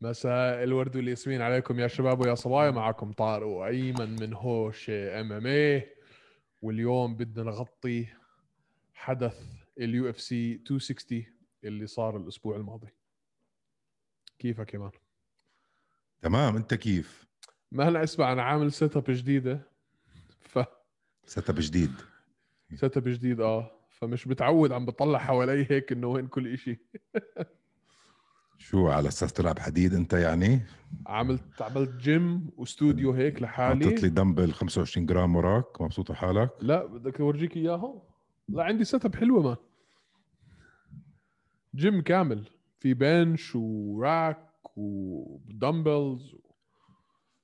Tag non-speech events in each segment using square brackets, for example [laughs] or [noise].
مساء الورد والياسمين عليكم يا شباب ويا صبايا معكم طارق وايمن من هوش ام ام اي واليوم بدنا نغطي حدث اليو اف سي 260 اللي صار الاسبوع الماضي كيفك يا مان؟ تمام انت كيف ما هلا اسمع انا عامل سيت اب جديده ف سيت اب جديد سيت اب جديد اه فمش متعود عم بطلع حوالي هيك انه وين كل إشي شو على اساس تلعب حديد انت يعني عملت عملت جيم واستوديو هيك حطيت لي لحالي دمبل 25 جرام وراك مبسوط حالك لا بدك اورجيك اياهم لا عندي سيت اب حلوه مان جيم كامل في بنش وراك ودمبلز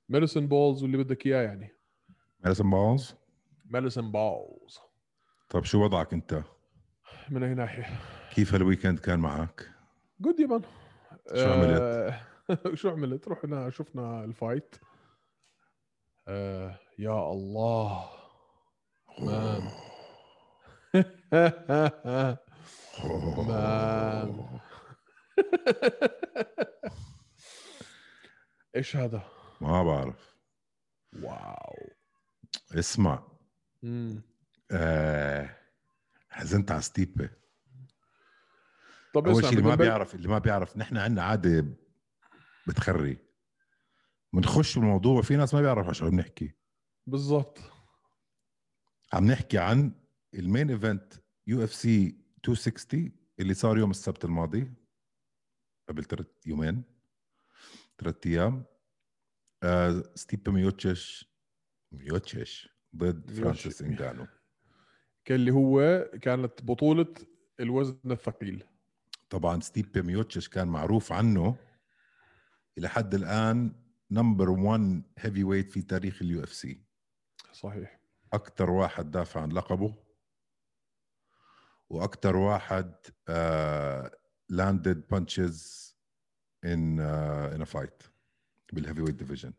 ميديسن بولز واللي بدك اياه يعني مالسن باونز ميديسن بولز طب طيب، شو وضعك انت من اي ناحيه كيف هالويكند كان معك جود يا مان شو عملت؟ آه، [laughs] شو عملت؟ رحنا شفنا الفايت آه يا الله مان [laughs] مان. [laughs] ايش هذا؟ ما بعرف واو اسمع مم. آه حزنت على ستيبه طب اول اسمع، شيء اللي بدنا ما نبل- بيعرف اللي ما بيعرف نحن عندنا عاده بتخري بنخش بالموضوع في ناس ما بيعرفوا شو عم نحكي بالضبط عم نحكي عن المين ايفنت يو اف سي 260 اللي صار يوم السبت الماضي قبل ثلاث يومين ثلاث ايام آه ستيب ميوتشيش ميوتشيش ضد ميوتش- فرانسيس انجانو كان اللي هو كانت بطولة الوزن الثقيل طبعا ستيب ميوتشيش كان معروف عنه الى حد الان نمبر 1 هيفي ويت في تاريخ اليو اف سي صحيح اكثر واحد دافع عن لقبه واكثر واحد آه، لاندد بانشز ان ان فايت بالهيفي ويت ديفيجن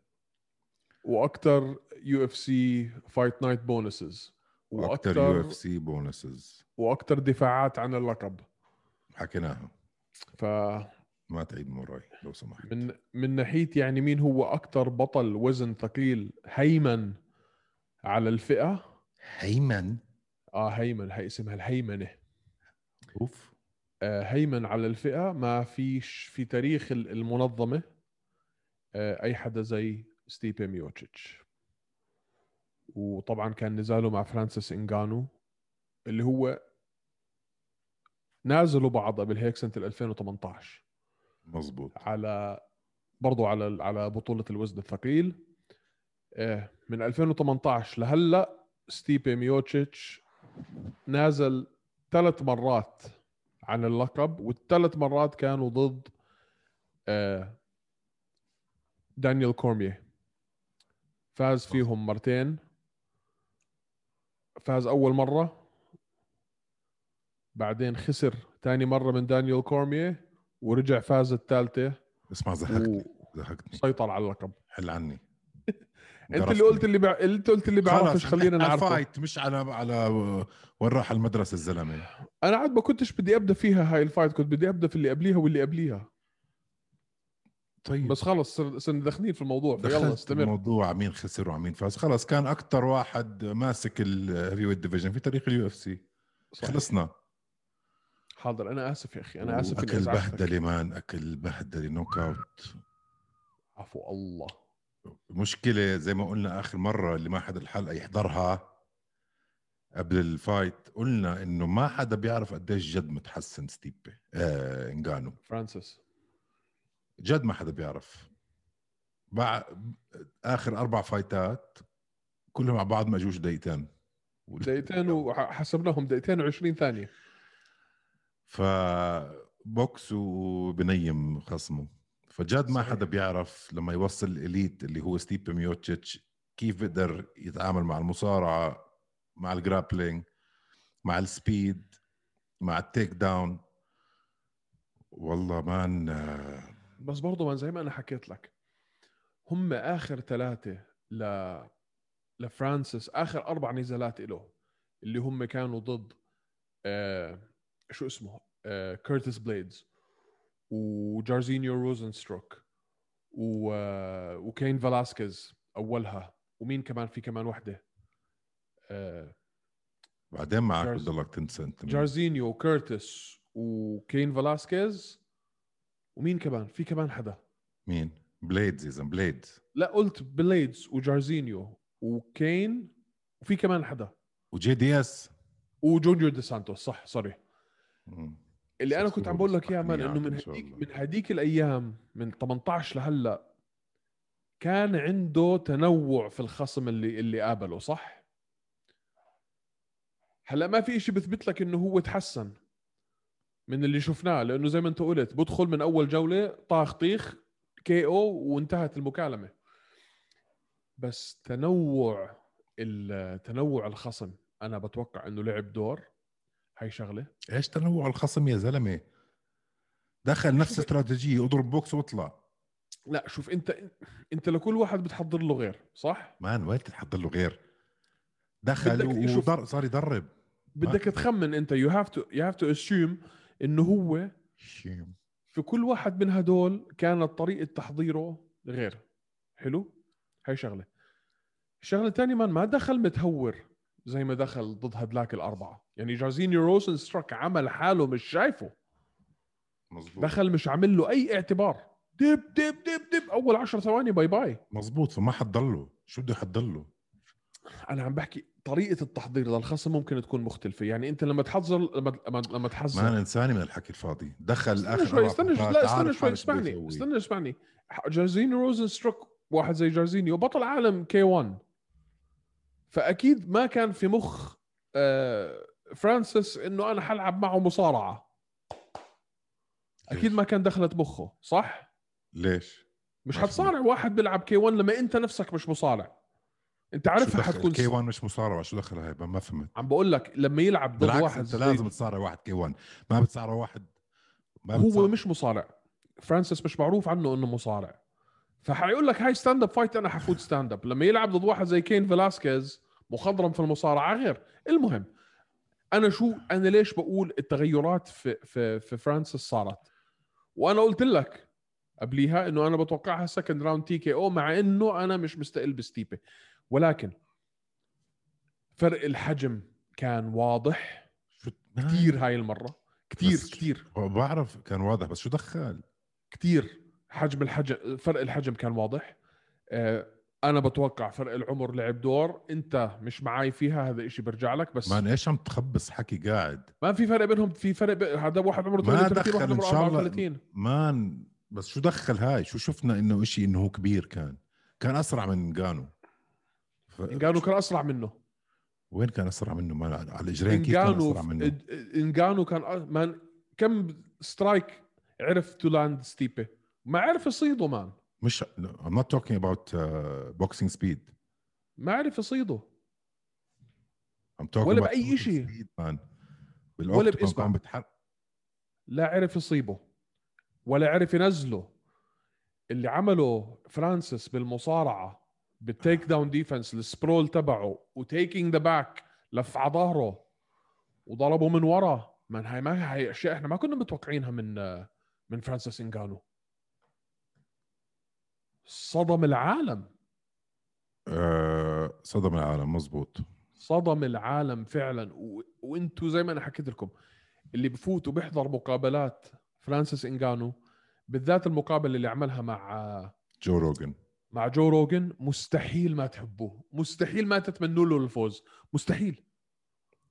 واكثر يو اف سي فايت نايت بونسز واكثر يو واكثر اف سي بونسز واكثر دفاعات عن اللقب حكيناها فمن ما تعيد من وراي لو سمحت من ناحيه يعني مين هو اكثر بطل وزن ثقيل هيمن على الفئه هيمن اه هيمن هي اسمها الهيمنه اوف آه، هيمن على الفئه ما فيش في تاريخ ال- المنظمه آه، اي حدا زي ستيبي ميوتشيتش وطبعا كان نزاله مع فرانسيس انجانو اللي هو نازلوا بعض قبل هيك سنه 2018 مزبوط على برضو على على بطوله الوزن الثقيل آه، من 2018 لهلا ستيبي ميوتشيتش نازل ثلاث مرات عن اللقب والثلاث مرات كانوا ضد آه، دانيال كورميه فاز فيهم مرتين فاز اول مره بعدين خسر ثاني مره من دانيال كورميه ورجع فاز الثالثه اسمع زهقتني زهقتني وسيطر على اللقب [laughs] حل عني انت اللي قلت اللي بع... انت قلت اللي بيعرفش خلينا نعرفه فايت مش على على وين راح المدرسه الزلمه انا عاد ما كنتش بدي ابدا فيها هاي الفايت كنت بدي ابدا في اللي قبليها واللي قبليها طيب بس خلص صر- صرنا داخلين في الموضوع فيلا دخلت استمر الموضوع مين خسر ومين فاز خلاص كان اكثر واحد ماسك الهيفي ويت ديفيجن في تاريخ اليو اف سي صحيح. خلصنا حاضر انا اسف يا اخي انا اسف اني اكل ازعجتك. بهدله مان اكل بهدله نوك اوت عفو الله مشكله زي ما قلنا اخر مره اللي ما حدا الحلقه يحضرها قبل الفايت قلنا انه ما حدا بيعرف قديش جد متحسن ستيبي آه انجانو فرانسيس جد ما حدا بيعرف بع... اخر اربع فايتات كلهم مع بعض ما اجوش دقيقتين دقيقتين وحسبناهم دقيقتين و20 ثانيه فبوكس وبنيم خصمه فجد ما صحيح. حدا بيعرف لما يوصل الاليت اللي هو ستيب ميوتشيتش كيف بيقدر يتعامل مع المصارعه مع الجرابلينج مع السبيد مع التيك داون والله مان آه، بس برضه ما زي ما انا حكيت لك هم اخر ثلاثه ل لفرانسيس اخر اربع نزالات له اللي هم كانوا ضد آه شو اسمه آه كيرتس بليدز وجارزينيو روزنستروك و... آه، وكين فلاسكيز اولها ومين كمان في كمان وحده آه، بعدين معك جارز- بضلك تنسى انت مين. جارزينيو وكيرتس وكين فلاسكيز ومين كمان في كمان حدا مين بليدز يا زلمه بليدز لا قلت بليدز وجارزينيو وكين وفي كمان حدا وجي دي اس وجونيور دي سانتوس صح سوري اللي انا كنت عم بقول لك اياه مان انه من إن شاء هديك الله. من هديك الايام من 18 لهلا كان عنده تنوع في الخصم اللي اللي قابله صح؟ هلا ما في إشي بثبت لك انه هو تحسن من اللي شفناه لانه زي ما انت قلت بدخل من اول جوله طاخ طيخ كي او وانتهت المكالمه بس تنوع ال- تنوع الخصم انا بتوقع انه لعب دور هاي شغله ايش تنوع الخصم يا زلمه دخل نفس استراتيجيه اضرب بوكس واطلع لا شوف انت انت لكل واحد بتحضر له غير صح مان وين تحضر له غير دخل بدك- شوف. وضر صار يدرب بدك تخمن انت يو هاف تو يو هاف تو اسيوم انه هو شيم. في كل واحد من هدول كانت طريقه تحضيره غير حلو هاي شغله الشغله الثانيه مان ما دخل متهور زي ما دخل ضد هدلاك الاربعه يعني جارزينيو روسن ستراك عمل حاله مش شايفه مزبوط دخل مش عامل له اي اعتبار دب دب دب دب اول عشر ثواني باي باي مزبوط فما حد ضله شو بده حد ضله انا عم بحكي طريقه التحضير للخصم ممكن تكون مختلفه يعني انت لما تحضر لما لما, لما ما تحزر انا انساني من الحكي الفاضي دخل استنى اخر شوي أربع استنى شوي فقرات، لا عارف استنى شوي حاله شو بده اسمعني يسوي. استنى اسمعني جارزينيو روزن ستروك واحد زي جارزينيو بطل عالم كي 1 فاكيد ما كان في مخ آه، فرانسيس انه انا حلعب معه مصارعه اكيد ليش؟ ما كان دخلت مخه صح ليش مش مفهوم. حتصارع واحد بيلعب كي 1 لما انت نفسك مش مصارع انت عارفها حتكون كي 1 مش مصارعه شو دخل هاي ما فهمت عم بقول لك لما يلعب ضد بالعكس واحد انت زي- لازم تصارع واحد كي 1 ما بتصارع واحد ما هو بتصارع- مش مصارع فرانسيس مش معروف عنه انه مصارع فحيقول لك هاي ستاند اب فايت انا حفوت ستاند اب لما يلعب ضد واحد زي كين فلاسكيز مخضرم في المصارعه غير المهم انا شو انا ليش بقول التغيرات في في في فرانسيس صارت وانا قلت لك قبليها انه انا بتوقعها سكند راوند تي كي او مع انه انا مش مستقل بستيبه ولكن فرق الحجم كان واضح شو كثير هاي المره كثير بس- كثير بعرف كان واضح بس شو دخل كتير حجم الحجم فرق الحجم كان واضح آه، انا بتوقع فرق العمر لعب دور انت مش معاي فيها هذا الشيء برجع لك بس مان ايش عم تخبص حكي قاعد ما في فرق بينهم في فرق ب... هذا واحد عمره ما 38 دخل واحد إن عمره شاء الله. 34 مان بس شو دخل هاي شو شفنا انه إشي انه هو كبير كان كان اسرع من انجانو ف... انجانو كان اسرع منه وين كان اسرع منه مان على الاجرين كيف كان انجانو اسرع منه إد- انجانو كان أ- مان كم سترايك عرف تو لاند ستيبي ما عرف يصيده مان مش I'm not talking about uh, boxing speed ما عرف يصيده I'm talking ولا about بأي shooting إشي. speed, man. ولا ولا باسمع. باسمه بتحرك لا عرف يصيبه ولا عرف ينزله اللي عمله فرانسيس بالمصارعه بالتيك داون ديفنس السبرول تبعه وتيكينج ذا باك لف على ظهره وضربه من ورا من هاي ما هاي اشياء احنا ما كنا متوقعينها من من فرانسيس انجانو صدم العالم آه صدم العالم مزبوط صدم العالم فعلا و... وانتوا زي ما انا حكيت لكم اللي بفوت وبيحضر مقابلات فرانسيس انجانو بالذات المقابله اللي عملها مع جو روجن مع جو روجن مستحيل ما تحبوه مستحيل ما تتمنوا له الفوز مستحيل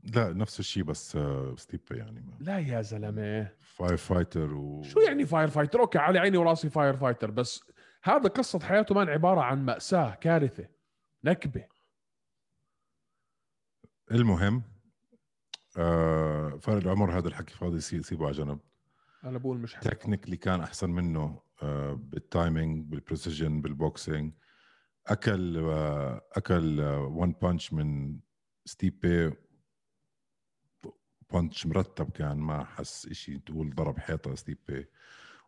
لا نفس الشيء بس آه ستيب يعني لا يا زلمه فاير فايتر و شو يعني فاير فايتر اوكي على عيني وراسي فاير فايتر بس هذا قصه حياته مان عباره عن ماساه كارثه نكبه المهم آه فرق العمر هذا الحكي فاضي سي- سيبه على جنب انا بقول مش حلو. تكنيكلي كان احسن منه آه بالتايمينج بالبريسيجن بالبوكسينج اكل آه اكل وان بانش من ستيبي بانش مرتب كان ما حس إشي تقول ضرب حيطه ستيبي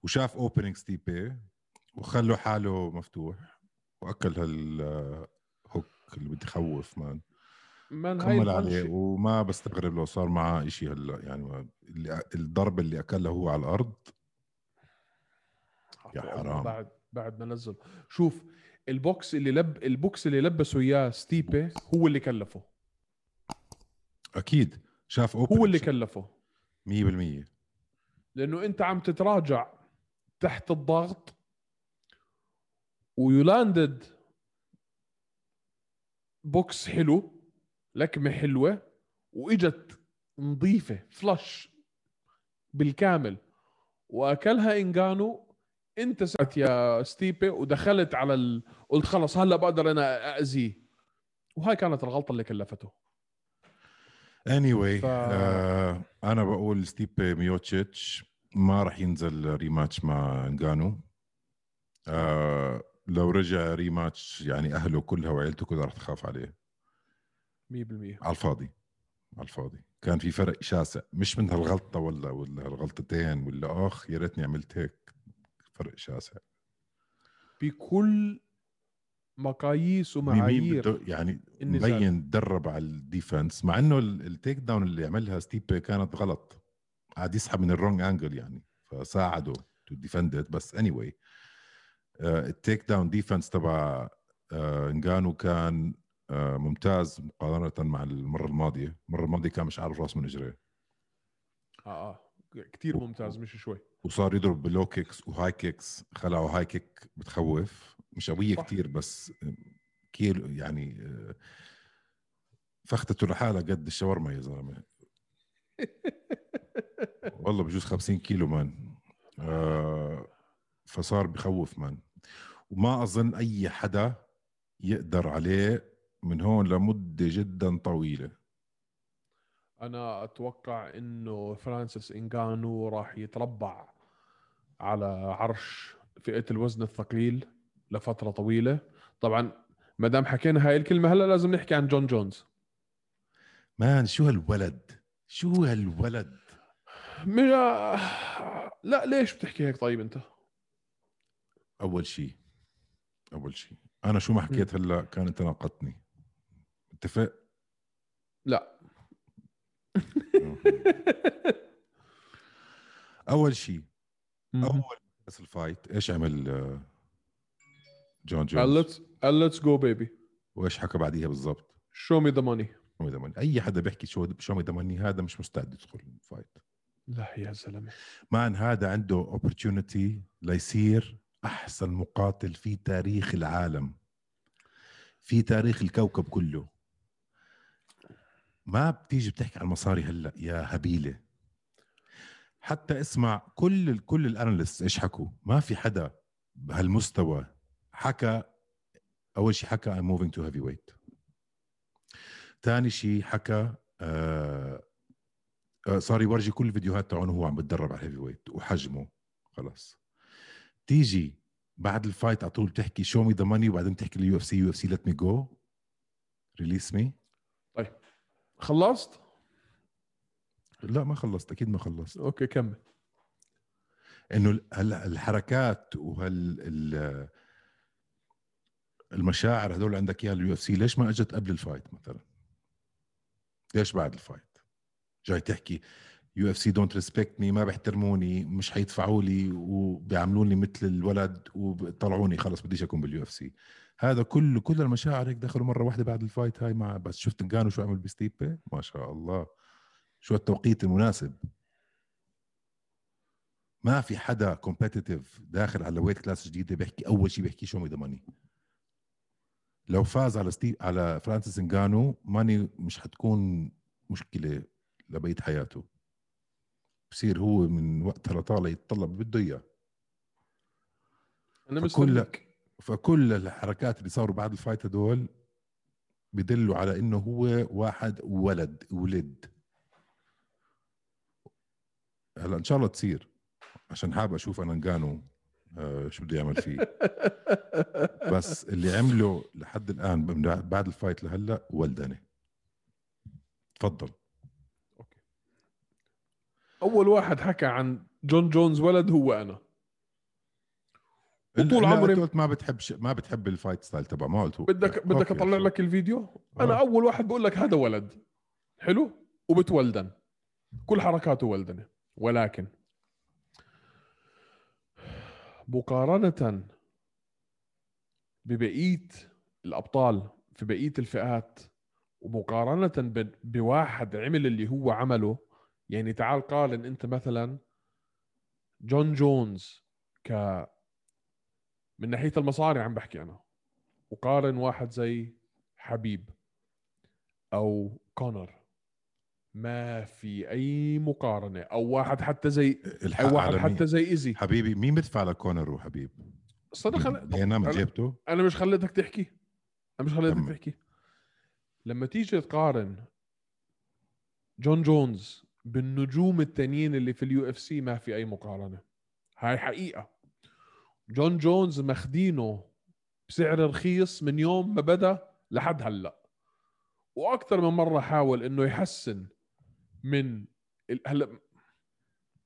وشاف اوبننج ستيبي وخلوا حاله مفتوح واكل هالهوك اللي بدي خوف مان مان هاي كمل عليه البنش وما بستغرب لو صار معاه إشي هلا يعني ما- اللي الضربه اللي اكلها هو على الارض يا حرام. بعد بعد ما نزل شوف البوكس اللي لب البوكس اللي لبسه اياه ستيبي هو اللي كلفه اكيد شاف اوبن هو اللي كلفه 100% لانه انت عم تتراجع تحت الضغط ويولاندد بوكس حلو لكمه حلوه واجت نظيفه فلش بالكامل واكلها انجانو انت سعت يا ستيبي ودخلت على ال... قلت خلص هلا بقدر انا اذيه وهاي كانت الغلطه اللي كلفته anyway ف- آه انا بقول ستيبي ميوتشيتش ما راح ينزل ريماتش مع انجانو آه لو رجع ريماتش يعني اهله كلها وعيلته كلها راح تخاف عليه 100% على الفاضي على الفاضي كان في فرق شاسع مش من هالغلطه ولا ولا هالغلطتين ولا اخ يا ريتني عملت هيك فرق شاسع بكل مقاييس مين ومعايير بده يعني النزال. مبين تدرب على الديفنس مع انه ال- التيك داون اللي عملها ستيب كانت غلط قاعد يسحب من الرونج انجل يعني فساعده تو ديفند بس اني anyway. آه، التيك داون ديفنس تبع آه، انجانو كان آه، ممتاز مقارنه مع المره الماضيه المره الماضيه كان مش عارف راس من اجريه اه اه كثير ممتاز مش شوي وصار يضرب بلو كيكس وهاي كيكس خلعوا هاي كيك بتخوف مش قويه صح. كتير بس كيلو يعني آه، فخدته لحالها قد الشاورما يا زلمه والله بجوز 50 كيلو مان آه، فصار بخوف مان وما اظن اي حدا يقدر عليه من هون لمده جدا طويله انا اتوقع انه فرانسيس انغانو راح يتربع على عرش فئه الوزن الثقيل لفتره طويله طبعا ما دام حكينا هاي الكلمه هلا لازم نحكي عن جون جونز مان شو هالولد شو هالولد مجا... آه، لا ليش بتحكي هيك طيب انت اول شيء اول شيء انا شو ما حكيت هلا كان انت ناقضتني اتفق لا اول شيء مهم. اول بس الفايت ايش عمل آه، جون قال جونز ليتس قال ليتس جو بيبي وايش حكى بعديها بالضبط شو مي ذا ماني شو مي دمني اي حدا بيحكي شو شو مي دمني هذا مش مستعد يدخل الفايت لا يا زلمه مان هذا عنده اوبورتونيتي ليصير احسن مقاتل في تاريخ العالم في تاريخ الكوكب كله ما بتيجي بتحكي عن مصاري هلا يا هبيله حتى اسمع كل كل الاناليست ايش حكوا ما في حدا بهالمستوى حكى اول شيء حكى I'm moving to heavyweight ثاني شيء حكى آه آه، صار يورجي كل الفيديوهات تاعونه وهو عم بتدرب على الهيفي ويت وحجمه خلاص تيجي بعد الفايت على طول بتحكي شو مي ذا ماني وبعدين تحكي لليو اف سي يو اف سي ليت مي جو ريليس مي خلصت لا ما خلصت اكيد ما خلصت اوكي كمل انه ال- هلا الحركات وهال ال- المشاعر هدول عندك اياها اليو اف سي ليش ما اجت قبل الفايت مثلا؟ ليش بعد الفايت؟ جاي تحكي يو اف سي دونت ريسبكت مي ما بيحترموني مش حيدفعوا لي وبيعاملوني مثل الولد وبيطلعوني خلص بديش اكون باليو اف سي هذا كله كل المشاعر هيك دخلوا مره واحده بعد الفايت هاي مع بس شفت انجانو شو عمل بستيبي ما شاء الله شو التوقيت المناسب ما في حدا كومبتيتيف داخل على ويت كلاس جديده بيحكي اول شيء بيحكي شو مي ذا ماني لو فاز على ستيف على فرانسيس انجانو ماني مش حتكون مشكله لبقيه حياته بصير هو من وقتها لطالع يتطلب بده اياه انا [laughs] فكل- مستنيك فكل الحركات اللي صاروا بعد الفايت هدول بدلوا على انه هو واحد ولد ولد هلا ان شاء الله تصير عشان حابب اشوف انا انجانو آه شو بده يعمل فيه بس اللي عمله لحد الان من بعد الفايت لهلا ولدني تفضل اول واحد حكى عن جون جونز ولد هو انا وطول لا، عمري- أنت قلت ما بتحب ش... ما بتحب الفايت ستايل تبعه ما قلت هو. بدك بدك أوكي، اطلع شو- لك الفيديو آه. انا اول واحد بقول لك هذا ولد حلو وبتولدن كل حركاته ولدنه ولكن مقارنة ببقيه الابطال في بقيه الفئات ومقارنه ب- بواحد عمل اللي هو عمله يعني تعال قارن انت مثلا جون جونز ك من ناحيه المصاري عم بحكي انا وقارن واحد زي حبيب او كونر ما في اي مقارنه او واحد حتى زي الحق او واحد على حتى حتى زي ايزي حبيبي مين بدفع لكونر وحبيب؟ صدق أنا- هنا من أنا- جيبته انا مش خليتك تحكي انا مش خليتك تمام. تحكي لما تيجي تقارن جون جونز بالنجوم التانيين اللي في اليو اف سي ما في اي مقارنه هاي حقيقه جون جونز مخدينه بسعر رخيص من يوم ما بدا لحد هلا واكثر من مره حاول انه يحسن من ال- هلا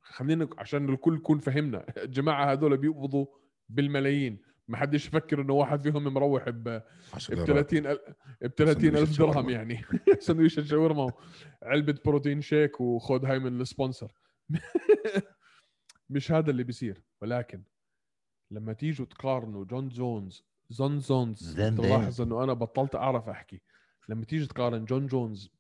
خلينا عشان الكل يكون فهمنا [laughs] الجماعه هذول بيقبضوا بالملايين ما حدش يفكر انه واحد فيهم مروح ب عشان ب لرا- 30 ب 30 سندويشة الف درهم شاورما. يعني [laughs] سندويشه شاورما وعلبه بروتين شيك وخذ هاي من السبونسر [laughs] مش هذا اللي بيصير ولكن لما تيجوا تقارنوا جون جونز زون زونز زن تلاحظ انه انا بطلت اعرف احكي لما تيجي تقارن جون جونز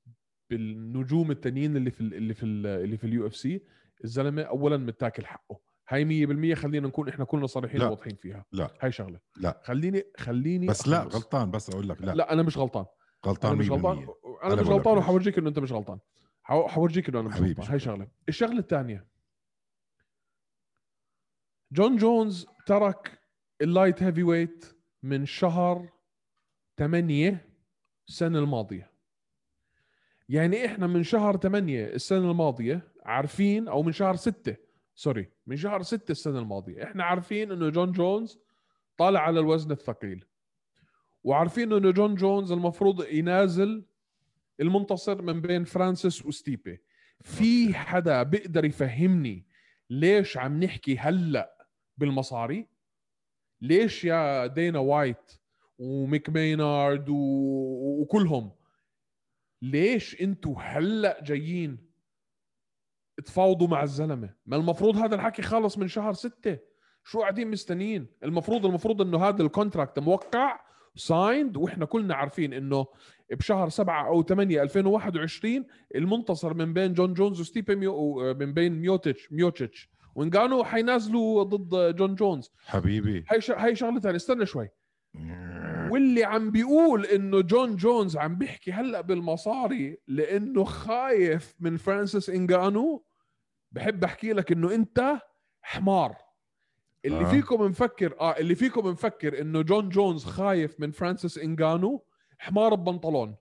بالنجوم التانيين اللي في ال اللي في ال اللي في اليو اف سي الزلمه اولا متاكل حقه هاي 100% خلينا نكون احنا كلنا صريحين لا. واضحين فيها لا هاي شغله لا. خليني خليني بس لا أخلص. غلطان بس اقول لك لا لا انا مش غلطان انا غلطان مش غلطان 100% انا أنا مش بقول لك غلطان ليش. وحورجيك انه انت مش غلطان حو- حورجيك انه انا مش حبيبي، غلطان هاي شكراً. شغله الشغله الثانيه جون جونز ترك اللايت هيفي ويت من شهر 8 السنه الماضيه يعني احنا من شهر 8 السنه الماضيه عارفين او من شهر 6 سوري من شهر 6 السنه الماضيه احنا عارفين انه جون جونز طالع على الوزن الثقيل وعارفين انه جون جونز المفروض ينازل المنتصر من بين فرانسيس وستيبي في حدا بيقدر يفهمني ليش عم نحكي هلا بالمصاري ليش يا دينا وايت وميك مينارد و... وكلهم ليش انتوا هلا جايين تفاوضوا مع الزلمه ما المفروض هذا الحكي خلص من شهر ستة شو قاعدين مستنيين المفروض المفروض انه هذا الكونتراكت موقع سايند واحنا كلنا عارفين انه بشهر سبعة او 8 2021 المنتصر من بين جون جونز وستيبي ميو ومن بين ميوتيتش ميوتيتش وانجانو حينازلوا ضد جون جونز حبيبي هاي ش... هاي شغله ثانيه استنى شوي واللي عم بيقول انه جون جونز عم بيحكي هلا بالمصاري لانه خايف من فرانسيس انجانو بحب احكي لك انه انت حمار اللي آه. فيكم مفكر اه اللي فيكم مفكر انه جون جونز خايف من فرانسيس انجانو حمار ببنطلون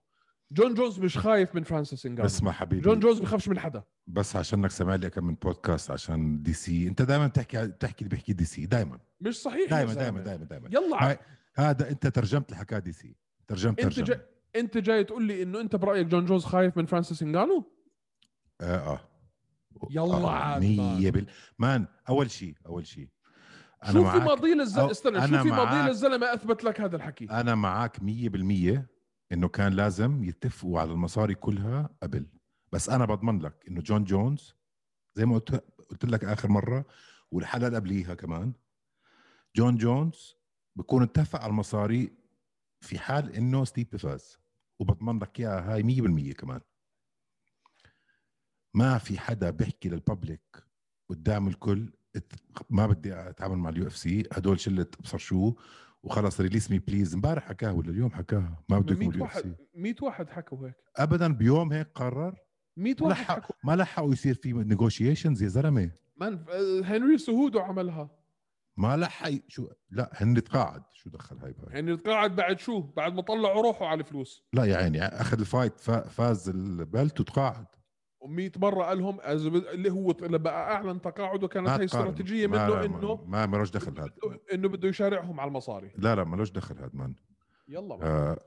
جون جونز مش خايف من فرانسيس انجانو اسمع حبيبي جون جونز بخافش من حدا بس عشانك سامع لي كم من بودكاست عشان دي سي انت دائما بتحكي بتحكي اللي بيحكي دي سي دائما مش صحيح إيه، يا دائما زلمة. دائما دائما دائما يلا عم. هاي- هذا انت ترجمت الحكاة دي سي ترجمت انت جاي ترجمة انت جاي تقول لي انه انت برايك جون جونز خايف من فرانسيس انجانو اه اه يلا آه، عاد، مية بال مان اول شيء اول شيء انا شو في معك ماضي للزلمه أو- استنى أنا شو في ماضي معاك. للزلمه اثبت لك هذا الحكي انا معك 100% انه كان لازم يتفقوا على المصاري كلها قبل بس انا بضمن لك انه جون جونز زي ما قلت قلت لك اخر مره والحلقه اللي قبليها كمان جون جونز بكون اتفق على المصاري في حال انه ستيب فاز وبضمن لك اياها هاي 100% كمان ما في حدا بيحكي للببليك قدام الكل ات- ما بدي اتعامل مع اليو اف سي هدول شله ابصر شو وخلص ريليس مي بليز امبارح حكاها ولا اليوم حكاها ما بده يكون 100 اليو اف سي واحد 100 واحد حكوا هيك ابدا بيوم هيك قرر 100 ما واحد لحق حكوا ما لحقوا يصير في نيغوشيشنز يا زلمه من هنري سهودو عملها ما لحق ي- شو لا هن تقاعد شو دخل هاي بهاي يعني تقاعد بعد شو بعد ما طلعوا روحه على الفلوس لا يا عيني اخذ الفايت فا- فاز البلت وتقاعد و100 مره قال لهم أز- اللي هو ط- لما اعلن تقاعده كانت ما هي تقارن. استراتيجيه ما- منه لا، ما- انه ما ملوش دخل هذا انه بده يشارعهم على المصاري لا لا ملوش دخل هذا مان يلا بقى. آه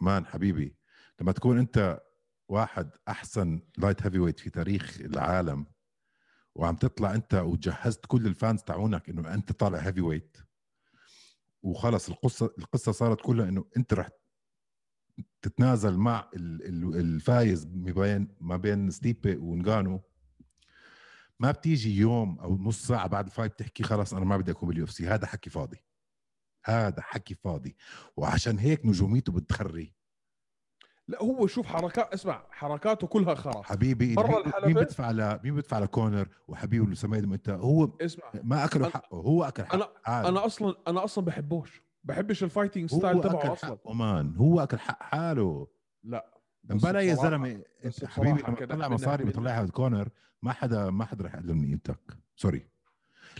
مان حبيبي لما تكون انت واحد احسن لايت هيفي ويت في تاريخ العالم وعم تطلع انت وجهزت كل الفانز تاعونك انه انت طالع هيفي ويت وخلص القصه القصه صارت كلها انه انت رح تتنازل مع ال- ال- الفايز ما بين ما بين ستيبي ونغانو ما بتيجي يوم او نص ساعه بعد الفايت تحكي خلص انا ما بدي اكون باليو اف سي هذا حكي فاضي هذا حكي فاضي وعشان هيك نجوميته بتخري لا هو شوف حركات اسمع حركاته كلها خرا حبيبي برا مين- الحلبة؟ مين بدفع ل مين بدفع لكونر وحبيبه اللي سميته انت هو اسمع ما اكلوا أنا- حقه هو اكل حقه عادي. انا اصلا انا اصلا بحبوش بحبش الفايتنج هو ستايل تبعه اكل اصلا حقه مان هو اكل حق حاله لا بس بلا يا بصراحة- زلمه بس انت حبيبي بصراحة لما كده تطلع بدنا- مصاري بدنا- بتطلعها من كونر ما حدا ما حدا رح يقلل من قيمتك سوري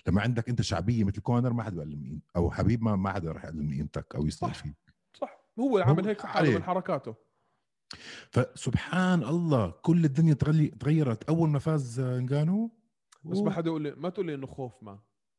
لما عندك انت شعبيه مثل كونر ما حدا بيقلل من قيمتك او حبيب ما ما حدا رح يقلل من قيمتك او يستاهل صح. فيه صح هو اللي عامل هيك في حاله عليه. من حركاته فسبحان الله كل الدنيا تغلي تغيرت اول ما فاز آه، انغانو بس أوه. ما حدا يقول لي ما تقول لي انه خوف ما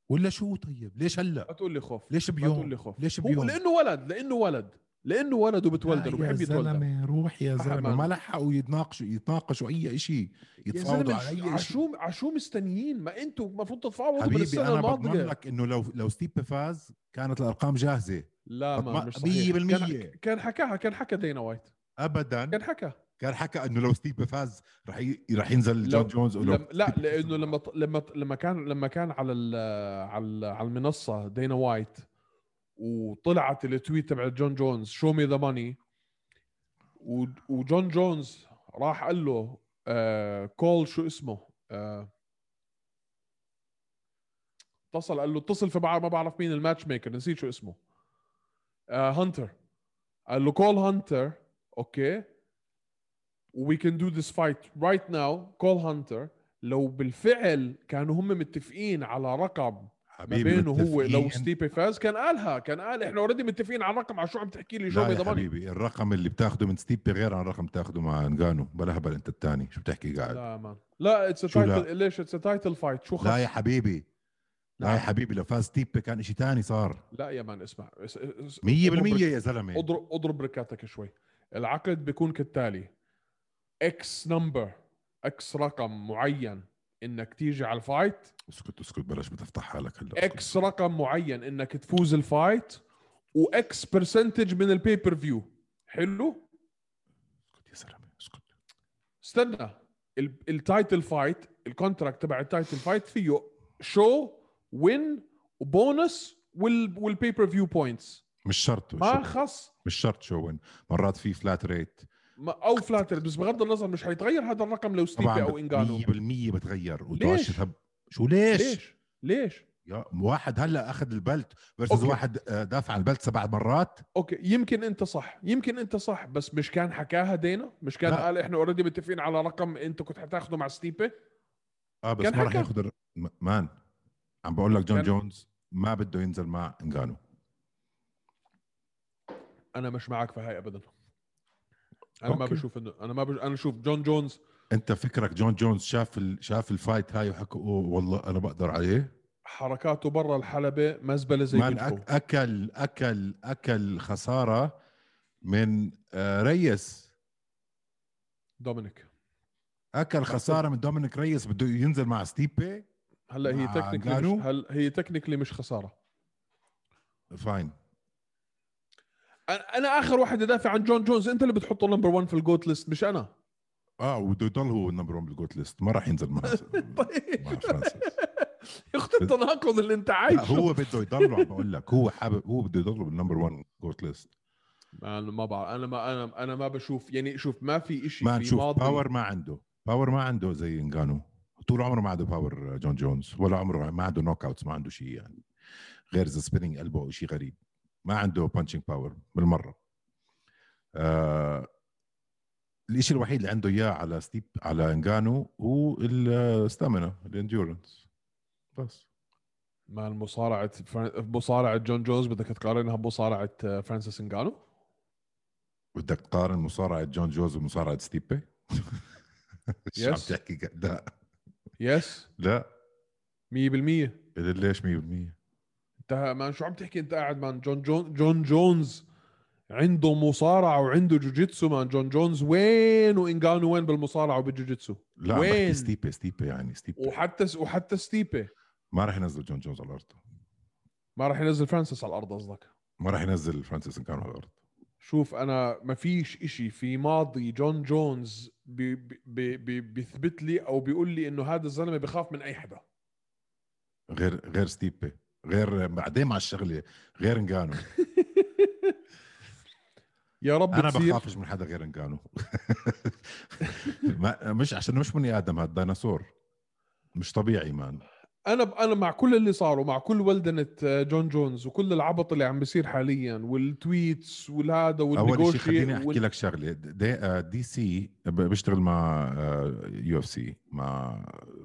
ولا شو طيب ليش هلا ما تقول لي خوف ليش ما تقول بيوم لي خوف ليش هو بيوم لانه ولد لانه ولد لانه ولد وبتولدر لا وبحب يا يتولدر زلمه روح يا صح زلمه أمان. ما لحقوا يتناقشوا يتناقشوا اي شيء يا يتفاوضوا على زلمه اي شيء عشو عشو مستنيين ما انتم المفروض تدفعوا من حبيبي السنه انا بضمن الماضيه لك انه لو لو ستيب فاز كانت الارقام جاهزه لا ما بضمن- مش مية صحيح بالمية. كان, كان حكاها كان حكى دينا وايت ابدا كان حكى كان حكى انه لو ستيب فاز رح ي... رح ينزل جون لو- جونز ولو لم لا ستيب لانه فاز. لما ط- لما ط- لما كان لما كان على ال على ال على المنصه دينا وايت وطلعت التويت تبع جون جونز شو مي ذا ماني وجون جونز راح قال له آه كول شو اسمه آه اتصل قال له اتصل في بعض ما بعرف مين الماتش ميكر نسيت شو اسمه آه هانتر قال له كول هانتر اوكي we can do this fight right now call hunter لو بالفعل كانوا هم متفقين على رقم ما حبيبي بينه هو لو متفقين- ستيبي فاز كان قالها كان قال احنا اوريدي متفقين على رقم على شو عم تحكي لي شو لا يا بيضمني حبيبي الرقم اللي بتاخده من ستيب غير عن الرقم بتاخده مع انغانو بلا هبل انت الثاني شو بتحكي قاعد لا, لا مان لا اتس شو لا؟ تايتل ليش اتس تايتل فايت شو خص يا حبيبي لا يا نعم. حبيبي لو فاز ستيب كان شيء ثاني صار لا يا مان اسمع اس- اس- 100% اضرب- يا زلمه اضرب اضرب ركاتك شوي العقد بيكون كالتالي اكس نمبر اكس رقم معين انك تيجي على الفايت اسكت اسكت بلاش بتفتح حالك هلا اسكت. اكس رقم معين انك تفوز الفايت واكس برسنتج من البيبر فيو حلو اسكت يا زلمه اسكت استنى ال- التايتل فايت الكونتراكت تبع التايتل فايت فيه شو وين وبونس وال والبيبر فيو بوينتس مش شرط ما شو- خص مش شرط شو وين مرات في فلات ريت ما او فلاتر بس بغض النظر مش حيتغير هذا الرقم لو ستيبي طبعا او انجانو 100% بتغير ليش؟ وتوشت هب شو طيب. ليش؟ ليش ليش يا واحد هلا اخذ البلت فيرسز أوكي. واحد آه، دافع عن البلت سبع مرات اوكي يمكن انت صح يمكن انت صح بس مش كان حكاها دينا مش كان لا. قال احنا اوريدي متفقين على رقم انت كنت حتاخده مع ستيبي اه بس كان ما راح حكى. ياخذ الر- م- مان عم بقول لك جون كان- جونز ما بده ينزل مع انجانو انا مش معك في هاي ابدا انا ما أوكي. بشوف انه انا ما بش... انا شوف جون جونز انت فكرك جون جونز شاف ال... شاف الفايت هاي وحكى اوه والله انا بقدر عليه حركاته برا الحلبه مزبله زي مان بنته أك... اكل اكل اكل خساره من آه، ريس دومينيك اكل خساره من دومينيك ريس بده ينزل مع ستيبي هلا هي مع تكنيكلي أنغانو؟ مش... هل هي تكنيكلي مش خساره فاين انا أنا اخر واحد يدافع عن جون جونز انت اللي بتحطه نمبر 1 في الجوت ليست مش [laughs] انا اه وبده يضل هو النمبر 1 بالجوت ليست ما راح ينزل مع [laughs] مع طيب فرانسيس يا اخت التناقض اللي انت لا، عايشه هو بده يضله عم بقول لك هو حابب هو بده يضله بالنمبر 1 جوت ليست انا ما بعرف انا ما انا انا ما بشوف يعني شوف ما في شيء ما في نشوف ماضي باور ما عنده باور ما عنده زي انجانو طول عمره ما عنده باور جون جونز ولا عمره ما عنده نوك اوتس ما عنده شيء يعني غير ذا سبيننج البو او شيء غريب ما عنده بانشنج باور بالمره آه الشيء الوحيد اللي عنده اياه على ستيب على انجانو هو آه، الستامينا الانديورنس بس مع المصارعه فران- مصارعه جون جونز بدك تقارنها بمصارعه آه، فرانسيس انجانو بدك تقارن مصارعه جون جونز ومصارعه ستيبي [laughs] شو عم Yes. تحكي قاعد- لا يس لا 100% ليش 100% انت ما شو عم تحكي انت قاعد مان جون جون جون جونز عنده مصارعه وعنده جوجيتسو مان جون جونز وين وانجانو وين بالمصارعه وبالجوجيتسو لا عم وين؟ بحكي ستيبي ستيبي يعني ستيبي وحتى س- وحتى ستيبي ما راح ينزل جون جونز على الارض ما راح ينزل فرانسيس على الارض قصدك ما راح ينزل فرانسيس انكانو على الارض شوف انا ما فيش اشي في ماضي جون جونز بي بي بي بيثبت لي او بيقول لي انه هذا الزلمه بخاف من اي حدا غير غير ستيبي غير بعدين مع الشغله غير انجانو يا رب انا تصير بخافش من حدا غير انجانو [laughs] ما- مش عشان مش بني ادم هذا ديناصور مش طبيعي مان انا انا مع كل اللي صار ومع كل ولدنه جون جونز وكل العبط اللي عم بيصير حاليا والتويتس والهذا اول شيء خليني والنيغوشي احكي وال- لك شغله دي, آه، دي سي ب- بيشتغل مع آه، يو اف سي مع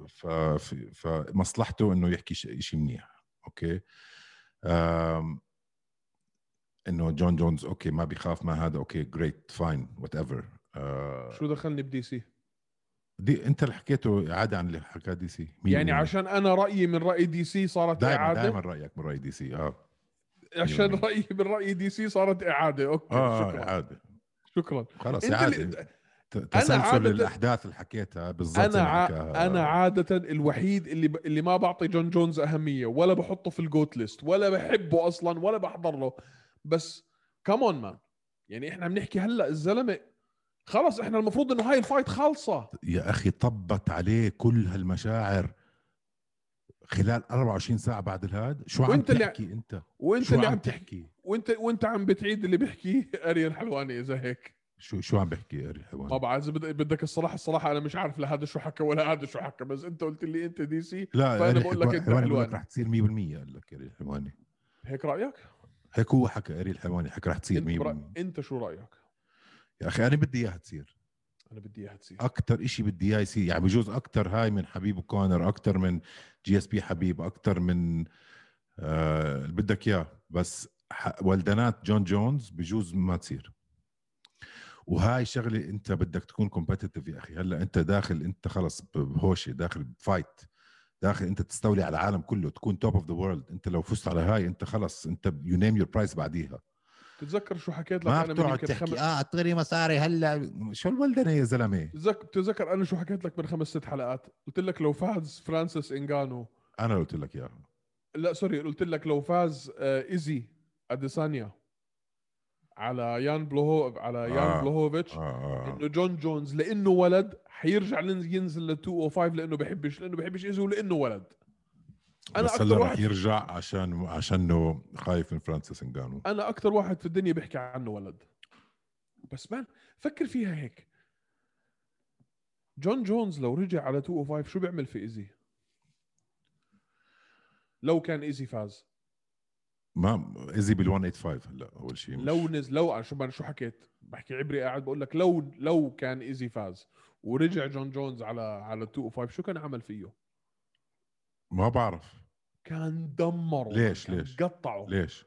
ف- ف- فمصلحته انه يحكي شيء منيح اوكي آم، انه جون جونز اوكي ما بيخاف ما هذا اوكي جريت فاين وات ايفر شو دخلني بدي سي آه، دي انت اللي حكيته اعاده عن اللي حكاه دي سي يعني عشان انا رايي من راي دي سي صارت دائما اعاده دائما رايك من راي دي سي اه عشان يعني. رايي من راي دي سي صارت اعاده اوكي اه شكرا اعاده شكرا خلاص انت اعاده اللي ت- تسلسل عادة- الاحداث اللي حكيتها بالضبط انا اللي ع... حكاها. انا عاده الوحيد اللي ب... اللي ما بعطي جون جونز اهميه ولا بحطه في الجوت ليست ولا بحبه اصلا ولا بحضر له بس كمون مان يعني احنا بنحكي هلا الزلمه خلص احنا المفروض انه هاي الفايت خالصه يا اخي طبت عليه كل هالمشاعر خلال 24 ساعه بعد الهاد شو عم وإنت اللي- تحكي انت وانت شو اللي عم عم تحكي تحكي وانت وانت عم بتعيد اللي بيحكيه اريان حلواني اذا هيك شو شو عم بحكي يا ما ريحوان بعرف اذا بد- بدك الصراحه الصراحه انا مش عارف لا هذا شو حكى ولا هذا شو حكى بس انت قلت لي انت دي سي لا فأنا أري بقول لك حلواني- أنت حلواني بقول حلواني. لك رح تصير 100% قال لك يا ري الحلواني هيك رايك؟ هيك هو حكى اري الحلواني حكى رح تصير 100% انت, برأ... انت شو رايك؟ يا اخي انا بدي اياها تصير انا بدي اياها تصير اكثر إشي بدي اياه يصير يعني بجوز اكثر هاي من حبيب كونر اكثر من جي اس بي حبيب اكثر من آه، اللي بدك اياه بس ح- ولدنات جون جونز بجوز ما تصير وهاي شغله انت بدك تكون كومبتيتيف يا اخي هلا انت داخل انت خلص ب- بهوشه داخل بفايت داخل انت تستولي على العالم كله تكون توب اوف ذا وورلد انت لو فزت على هاي انت خلص انت يو نيم يور برايس بعديها تتذكر شو حكيت لك ما انا من بتقعد يمكن تحكي خمس اه اعطيني مصاري هلا شو الولدنه يا زلمه بتذك- بتتذكر انا شو حكيت لك من خمس ست حلقات قلت لك لو فاز فرانسيس انجانو انا قلت لك اياها لا سوري قلت لك لو فاز آه، ايزي اديسانيا على يان بلوهو على يان آه، بلوهوفيتش آه. انه جون جونز لانه ولد حيرجع لن- ينزل ل 205 لانه بحبش لانه بحبش ايزي ولانه ولد أنا بس أكتر هلا رح واحد- يرجع عشان عشانه خايف من فرانسيس انجانو انا اكثر واحد في الدنيا بيحكي عنه ولد بس مان فكر فيها هيك جون جونز لو رجع على 205 شو بيعمل في ايزي لو كان ايزي فاز ما ايزي بال 185 هلا اول شيء لو نز لو أنا شو ما أنا شو حكيت بحكي عبري قاعد بقول لك لو لو كان ايزي فاز ورجع جون جونز على على 205 شو كان عمل فيه ما بعرف كان دمره ليش- كان ليش؟ قطعه ليش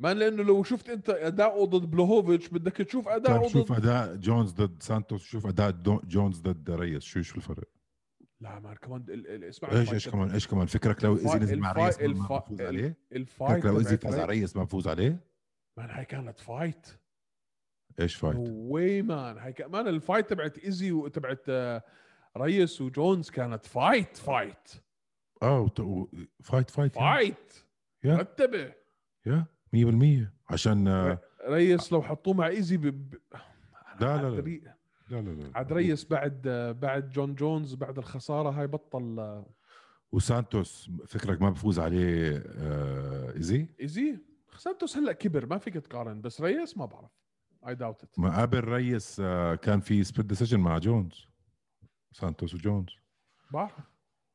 ما لانه لو شفت انت اداؤه ضد بلوهوفيتش بدك تشوف كان اداؤه ضد شوف اداء جونز ضد سانتوس شوف اداء دو- جونز ضد ريس شو شو الفرق لا مان كمان ال- ال- اسمع ايش الفايت ايش كمان ايش كمان فكرك لو ايزي الفا- نزل مع الفا- ريس ما الفا- بفوز ال- عليه الفايت فكرك لو ايزي تبعت فاز ري- على ريس ما بفوز عليه مان هاي كانت فايت ايش فايت واي مان هاي كان مان الفايت تبعت ايزي وتبعت آه، ريس وجونز كانت فايت فايت اه وت- و- فايت فايت يعني يا. فايت يا. رتبه يا 100% عشان آه، ريس لو حطوه مع ايزي ب... ب... لا، لا، عاد لا. ري- لا لا لا عاد ريس بعد آه، بعد جون جونز بعد الخساره هاي بطل آه، وسانتوس فكرك ما بفوز عليه آه، ايزي ايزي سانتوس هلا كبر ما فيك تقارن بس ريس ما بعرف اي داوت ات ما قبل ريس آه، كان في سبليت ديسيجن مع جونز سانتوس وجونز بعرف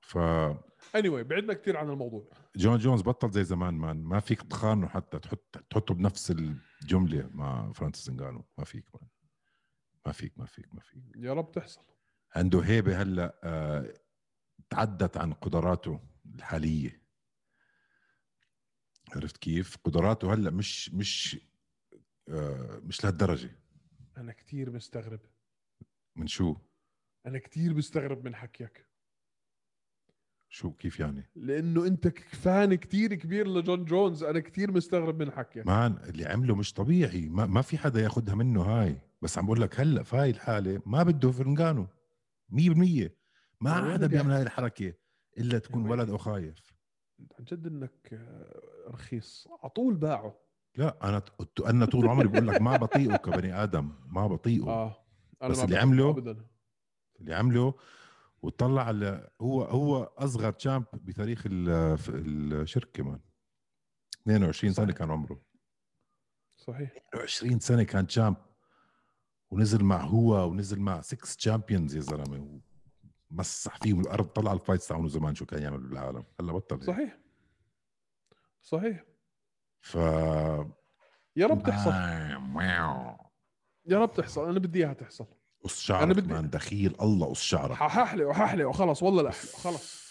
فجون اني anyway, بعدنا كثير عن الموضوع جونز بطل زي زمان مان ما فيك تخانه حتى تحط تحطه بنفس الجمله مع فرانسيس انجانو ما فيك مان ما فيك ما فيك ما فيك يا رب تحصل عنده هيبه هلا آه، تعدت عن قدراته الحاليه عرفت كيف قدراته هلا مش مش آه، مش لهالدرجه انا كثير مستغرب من شو انا كثير مستغرب من حكيك شو كيف يعني لانه انت فان كثير كبير لجون جونز انا كثير مستغرب من حكيك مان اللي عمله مش طبيعي ما, ما في حدا ياخدها منه هاي بس عم بقول لك هلا في هاي الحاله ما بده فرنجانو 100% ما وين حدا بدي بيعمل هاي الحركه الا تكون وين؟ ولد او خايف عن جد انك آه، رخيص على طول باعه لا انا ت- انا طول عمري بقول لك ما بطيئه كبني ادم ما بطيئه اه انا بس ما اللي بعرف عمله- ابدا اللي عمله وطلع على هو هو اصغر تشامب بتاريخ ال- ف- الشركه مان 22 سنه صحيح. كان عمره صحيح 22 سنه كان جامب ونزل مع هو ونزل مع 6 تشامبيونز يا زلمه مسح فيهم الارض طلع الفايتس تاعونه زمان شو كان يعمل بالعالم هلا بطل يعني. صح صحيح صحيح ف آه، يا رب تحصل واو. يا رب تحصل انا بدي اياها تحصل قص أنا شعرك بدي- مان دخيل الله قص شعرك ححلق وححلق وخلص والله لا خلص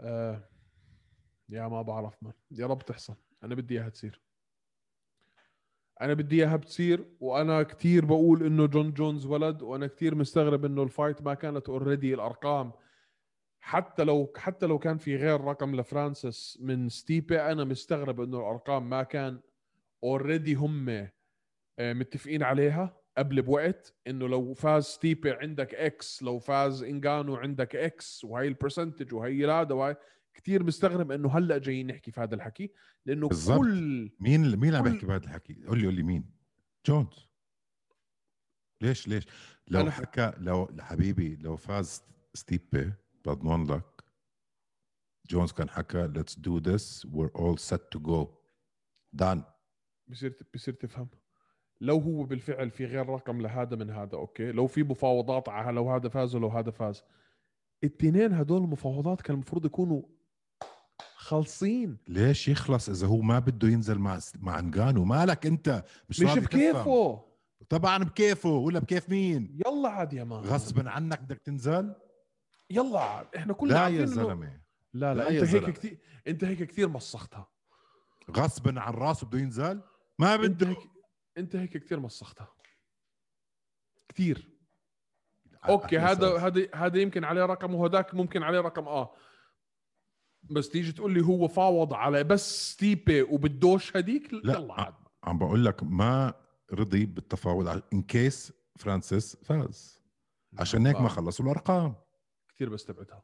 آه يا ما بعرف من يا رب تحصل انا بدي اياها تصير انا بدي اياها بتصير وانا كتير بقول انه جون جونز ولد وانا كتير مستغرب انه الفايت ما كانت اوريدي الارقام حتى لو حتى لو كان في غير رقم لفرانسيس من ستيبي انا مستغرب انه الارقام ما كان اوريدي هم آه، متفقين عليها قبل بوقت انه لو فاز ستيبي عندك اكس لو فاز انجانو عندك اكس وهي البرسنتج وهي هذا وهي كثير مستغرب انه هلا جايين نحكي في هذا الحكي لانه بالضبط. كل مين مين عم كل- يحكي بهذا الحكي؟ قول لي قول لي مين؟ جونز ليش ليش؟ لو أنا- حكى لو حبيبي لو فاز ستيبي بضمن لك جونز كان حكى let's do this we're all set to go done بصير بصير تفهم لو هو بالفعل في غير رقم لهذا من هذا اوكي لو في مفاوضات على لو هذا فاز ولو هذا فاز التنين هدول المفاوضات كان المفروض يكونوا خالصين ليش يخلص اذا هو ما بده ينزل مع مع انجانو مالك انت مش, مش راضي تفهم. بكيفه طبعا بكيفه ولا بكيف مين يلا عاد يا مان غصبا عنك بدك تنزل يلا عاد احنا كلنا لا عارفين يا إنه- زلمه لا لا لا يا انت زلمة. هيك كثير انت هيك كثير مسختها غصبا عن راسه بده ينزل ما انت بده هيك انت هيك كثير مسختها كثير اوكي هذا هذا هذا يمكن عليه رقم وهذاك ممكن عليه رقم اه بس تيجي تقول لي هو فاوض على بس ستيبي وبدوش هديك لا يلا عاد عم بقول لك ما رضي بالتفاوض ان كيس فرانسيس فاز نعم. عشان آه. هيك ما خلصوا الارقام كثير بستبعدها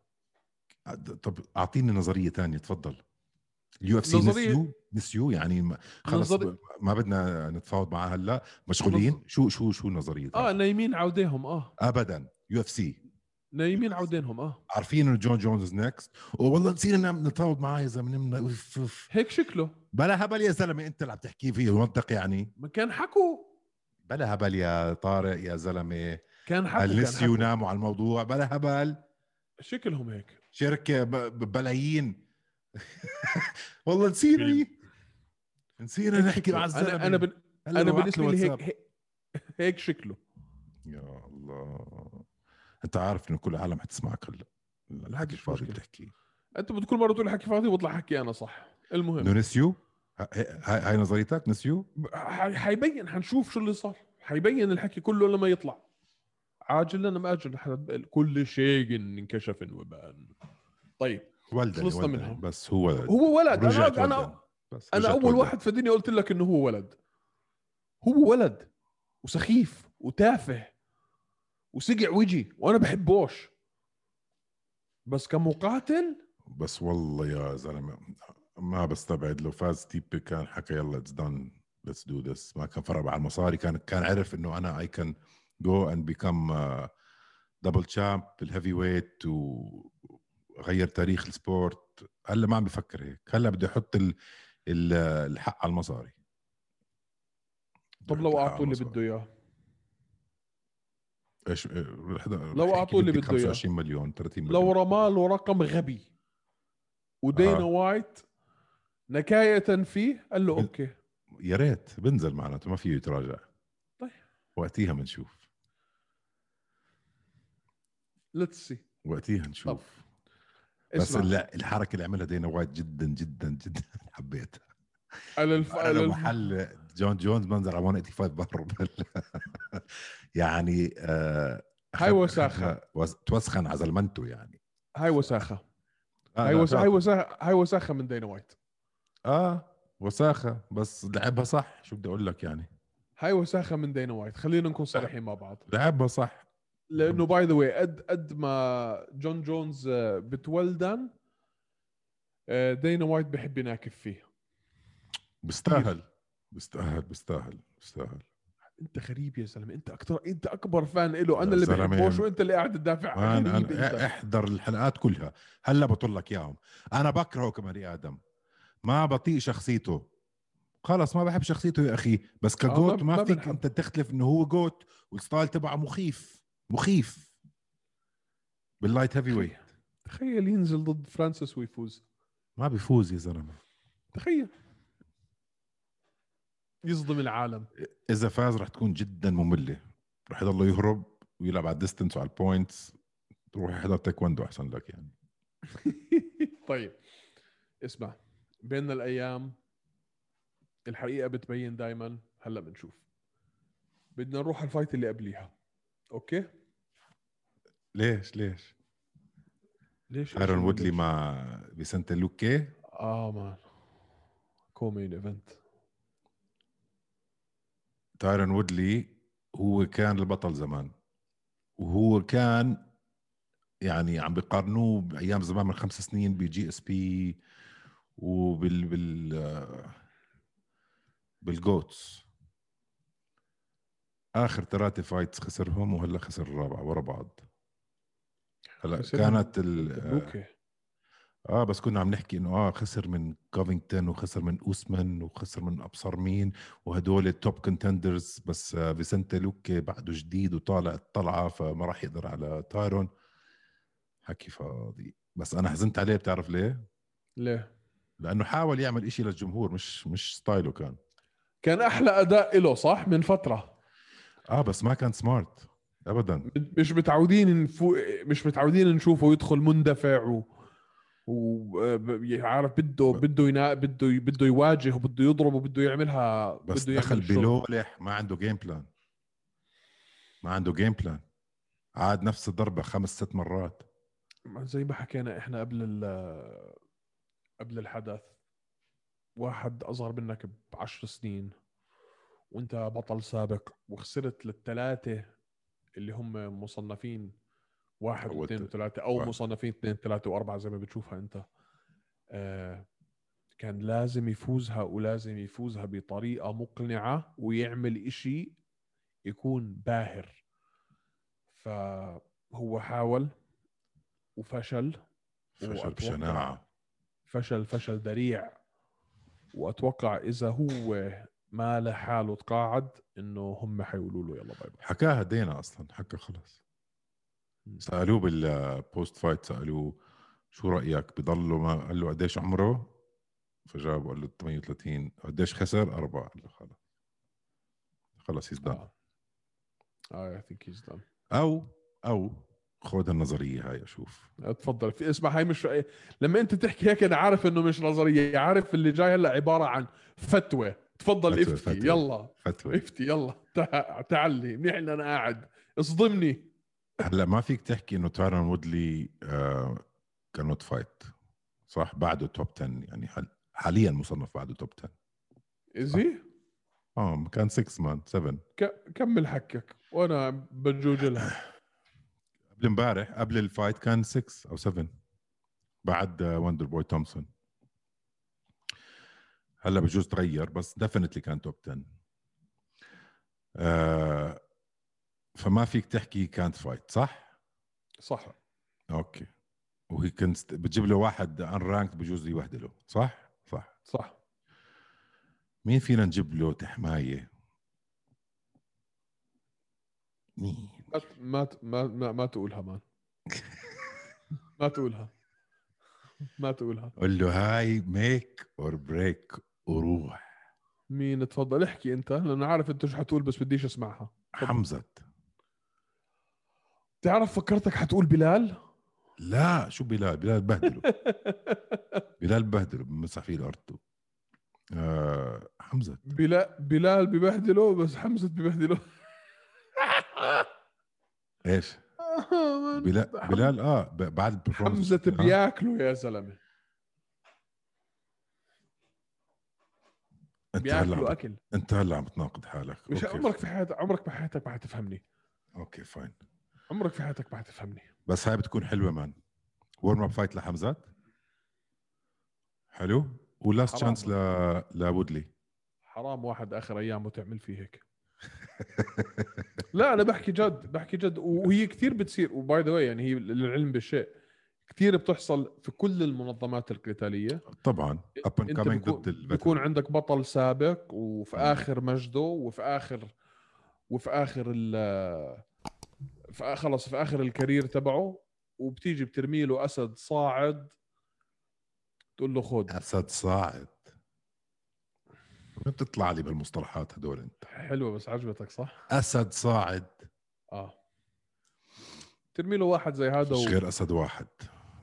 طب اعطيني نظريه تانية تفضل اليو اف سي نظرية- نسيو نسيو يعني ما- خلص نظري- ما بدنا نتفاوض معاه هلا مشغولين شو شو شو نظريه اه آه. نايمين عوديهم اه ابدا يو اف سي نايمين عودينهم اه عارفين انه جون جونز نيكست والله نسينا نعم- نتفاوض معاه يا زلمه نمنا- أوف- أوف. هيك شكله بلا هبل يا زلمه انت اللي عم تحكي فيه منطق يعني ما كان حكوا بلا هبل يا طارق يا زلمه كان حكوا كان هل حكوا. يناموا على الموضوع بلا هبل شكلهم هيك شركه ب- ببلايين [laughs] والله نسينا نسينا نحكي مع الزلمه انا انا بن... هلا انا ببعت بالنسبه له لي واتساب. هيك هيك- هيك شكله يا الله انت عارف انه كل العالم حتسمعك هلا الحكي مش الفاضي مشكلة. بتحكيه انت بتقول مره تقول حكي فاضي وبطلع حكي انا صح انه المهم نسيو ه- ه- هاي هاي نظريتك نسيو ح- حيبين حنشوف شو اللي صار حيبين الحكي كله لما يطلع عاجل لنا ماجل حد- كل شيء انكشف وبان طيب ولدني خلصنا ولدني، منها. بس هو هو ولد انا رجعت انا ولدني. بس انا رجعت اول ولدني. واحد في الدنيا قلت لك انه هو ولد هو ولد وسخيف وتافه وسقع وجهي وانا بحبوش بس كمقاتل بس والله يا زلمه ما بستبعد لو فاز تيبي كان حكى يلا اتس دان ليتس دو ذس ما كان فرق على المصاري كان كان عرف انه انا اي كان جو اند بيكم دبل تشامب بالهيفي ويت وغير تاريخ السبورت هلا ما عم بفكر هيك هلا بده يحط ال ال- الحق على المصاري طب بده يحط لو الحق على اعطوا اللي المصاري. بده اياه ايش لو لو أعطوه اللي بده إياه. 25 مليون 30 مليون لو رماله رقم غبي ودينا آه. وايت نكاية فيه قال له بال- اوكي يا ريت بنزل معناته ما فيه يتراجع طيب. وقتيها بنشوف ليتس سي وقتيها نشوف طب طب. بس اسمع ال- الحركه اللي عملها دينا وايت جدا جدا جدا [laughs] حبيتها على الف... انا على لو الف... محل جون جونز بنزل على 185 بهرب [laughs] يعني آه هاي أخذ- وساخة. أخذها وس- توسخن على زلمنته يعني هاي وساخة آه هاي لا، وساخة لا. هاي وساخة هاي وساخة من دينا وايت اه وساخه بس لعبها صح شو بدي اقول لك يعني هاي وساخة من دينا وايت خلينا نكون صريحين مع بعض لعبها صح لانه باي ذا واي قد قد ما جون جونز آه، بتولدن آه، دينا وايت بحب يناكف فيه بستاهل بستاهل بستاهل بستاهل انت غريب يا زلمه انت اكثر انت اكبر فان له يا انا اللي زلمة. بحبوش وانت اللي قاعد تدافع عن انا غريب أنا انت احضر الحلقات كلها هلا بطل لك اياهم انا بكرهه كبني ادم ما بطيء شخصيته خلص ما بحب شخصيته يا اخي بس كجوت ما- ما, ما فيك بنحب. انت تختلف انه هو جوت والستايل تبعه مخيف مخيف باللايت هيفي ويت تخيل ينزل ضد فرانسيس ويفوز ما بيفوز يا زلمه تخيل يصدم العالم اذا فاز رح تكون جدا ممله رح يضل يهرب ويلعب على الديستنس وعلى البوينتس تروح يحضر تايكوندو احسن لك يعني [laughs] طيب اسمع بين الايام الحقيقه بتبين دائما هلا بنشوف بدنا نروح على الفايت اللي قبليها اوكي ليش ليش ليش ايرون ليش- وودلي ليش؟ مع فيسنتا لوكي اه مان كومين ايفنت تايرون وودلي هو كان البطل زمان وهو كان يعني عم بيقارنوه بايام زمان من خمس سنين بجي اس بي وبال بال بالجوتس اخر ثلاثه فايتس خسرهم وهلا خسر الرابعه ورا بعض هلا خسرهم كانت ال اوكي اه بس كنا عم نحكي انه اه خسر من كوفينغتون وخسر من اوسمان وخسر من ابصر مين وهدول التوب كونتندرز بس آه فيسنتا لوكي بعده جديد وطالع الطلعه فما راح يقدر على تايرون حكي فاضي بس انا حزنت عليه بتعرف ليه؟ ليه لانه حاول يعمل إشي للجمهور مش مش ستايله كان كان احلى اداء له صح من فتره اه بس ما كان سمارت ابدا مش متعودين نفو... مش متعودين نشوفه يدخل مندفع و وعارف بده بده ينا... بده ي- بده يواجه وبده يضرب وبده يعملها بس بده يعمل دخل الشغل. بلولح ما عنده جيم بلان ما عنده جيم بلان عاد نفس الضربه خمس ست مرات ما زي ما حكينا احنا قبل ال... قبل الحدث واحد اصغر منك بعشر سنين وانت بطل سابق وخسرت للثلاثه اللي هم مصنفين واحد أول واثنين تل- وثلاثه او واحد. مصنفين اثنين ثلاثه واربعه زي ما بتشوفها انت آه كان لازم يفوزها ولازم يفوزها بطريقه مقنعه ويعمل إشي يكون باهر فهو حاول وفشل فشل وأتوقع- بشناعه فشل فشل ذريع واتوقع اذا هو ما لحاله تقاعد انه هم حيقولوا له يلا باي باي حكاها دينا اصلا حكى خلص سالوه بالبوست فايت سالوه شو رايك بضله ما قال له قديش عمره فجاوب قال له 38 قديش خسر اربعه قال له خلص خلص he's done اه اي ثينك هيز دان او او خذ النظريه هاي اشوف تفضل في اسمع هاي مش لما انت تحكي هيك انا عارف انه مش نظريه عارف اللي جاي هلا عباره عن فتوى تفضل فتوى، افتي فتوى. يلا فتوى افتي يلا تع- تعلي منيح إن انا قاعد اصدمني هلا ما فيك تحكي انه تايرون وودلي كانوت فايت صح بعده توب 10 يعني حل... حاليا مصنف بعده توب 10 ازي اه كان 6 مان 7 ك- كمل حكك وانا بجوج لها قبل امبارح قبل الفايت كان 6 او 7 بعد آه، وندر بوي تومسون هلا بجوز تغير بس ديفنتلي كان توب 10 آه فما فيك تحكي كانت فايت صح؟ صح اوكي وهي كنت بتجيب له واحد ان رانكد بجوز يوهدله صح؟ صح صح مين فينا نجيب له تحمايه؟ مين؟ ما ت- ما ت- ما ما, ما تقولها مان ما تقولها ما تقولها قول له هاي ميك اور بريك وروح مين تفضل احكي انت لانه عارف انت شو حتقول بس بديش اسمعها تفضل. حمزة تعرف فكرتك حتقول بلال لا شو بلال بلال [laughs] بهدله بلال بهدله بمسح فيه الارض آه حمزة بلا بلال ببهدله بس حمزه ببهدله [laughs] ايش آه، مان. بلال حم- بلال اه ب- بعد آه، البرفورمانس حمزه بياكله يا زلمه انت هلا بياكلوا عم- اكل انت هلا عم تناقض حالك مش أوكي. عمرك في حياتك عمرك بحياتك ما حتفهمني اوكي فاين عمرك في حياتك ما حتفهمني بس هاي بتكون حلوه مان ورم اب فايت لحمزة حلو ولاست حرام. تشانس ل لوودلي حرام واحد اخر ايامه تعمل فيه [laughs] هيك لا انا بحكي جد بحكي جد وهي كثير بتصير وباي ذا واي يعني هي للعلم بالشيء كثير بتحصل في كل المنظمات القتاليه طبعا اب اند انت كامينج بكون- ضد الباتل. بيكون عندك بطل سابق وفي مم. اخر مجده وفي اخر وفي اخر ال في آ- خلص في اخر الكارير تبعه وبتيجي بترمي له اسد صاعد تقول له خد اسد صاعد ما بتطلع لي بالمصطلحات هدول انت حلوه بس عجبتك صح؟ اسد صاعد اه ترمي له واحد زي هذا مش و... غير اسد واحد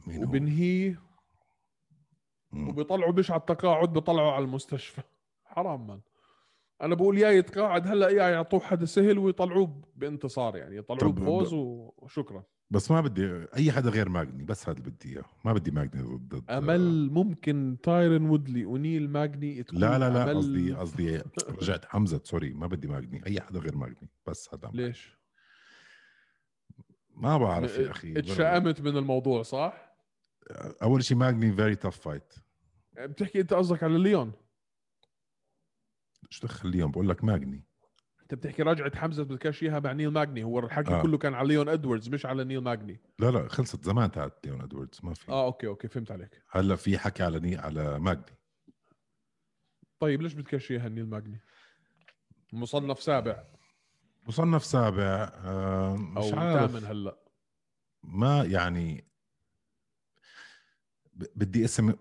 مين هو؟ وبنهيه مم. وبيطلعوا مش على التقاعد بيطلعوا على المستشفى حرام من انا بقول يا يتقاعد هلا يا يعطوه حدا سهل ويطلعوه بانتصار يعني يطلعوه طب- بفوز و- وشكرا بس ما بدي اي حدا غير ماجني بس هذا اللي بدي اياه ما بدي ماجني ضد ضد- امل ممكن تايرن وودلي ونيل ماجني تكون لا لا لا أمل- قصدي قصدي [laughs] رجعت حمزه سوري ما بدي ماجني اي حدا غير ماجني بس هذا ليش؟ ما بعرف يا اخي اتشائمت من الموضوع صح؟ اول شيء ماجني فيري تاف فايت بتحكي انت قصدك على ليون شو دخل اليوم بقول لك ماجني انت بتحكي رجعه حمزه بدكاش اياها مع نيل ماجني هو الحكي آه. آه. كله كان على ليون ادواردز مش على نيل ماجني لا لا خلصت زمان تاعت ليون ادواردز ما في اه اوكي اوكي فهمت عليك هلا في حكي على ني على ماجني طيب ليش بدكاش اياها نيل ماجني؟ مصنف سابع مصنف سابع آه، او مش عارف ثامن هلا ما يعني ب- بدي اسم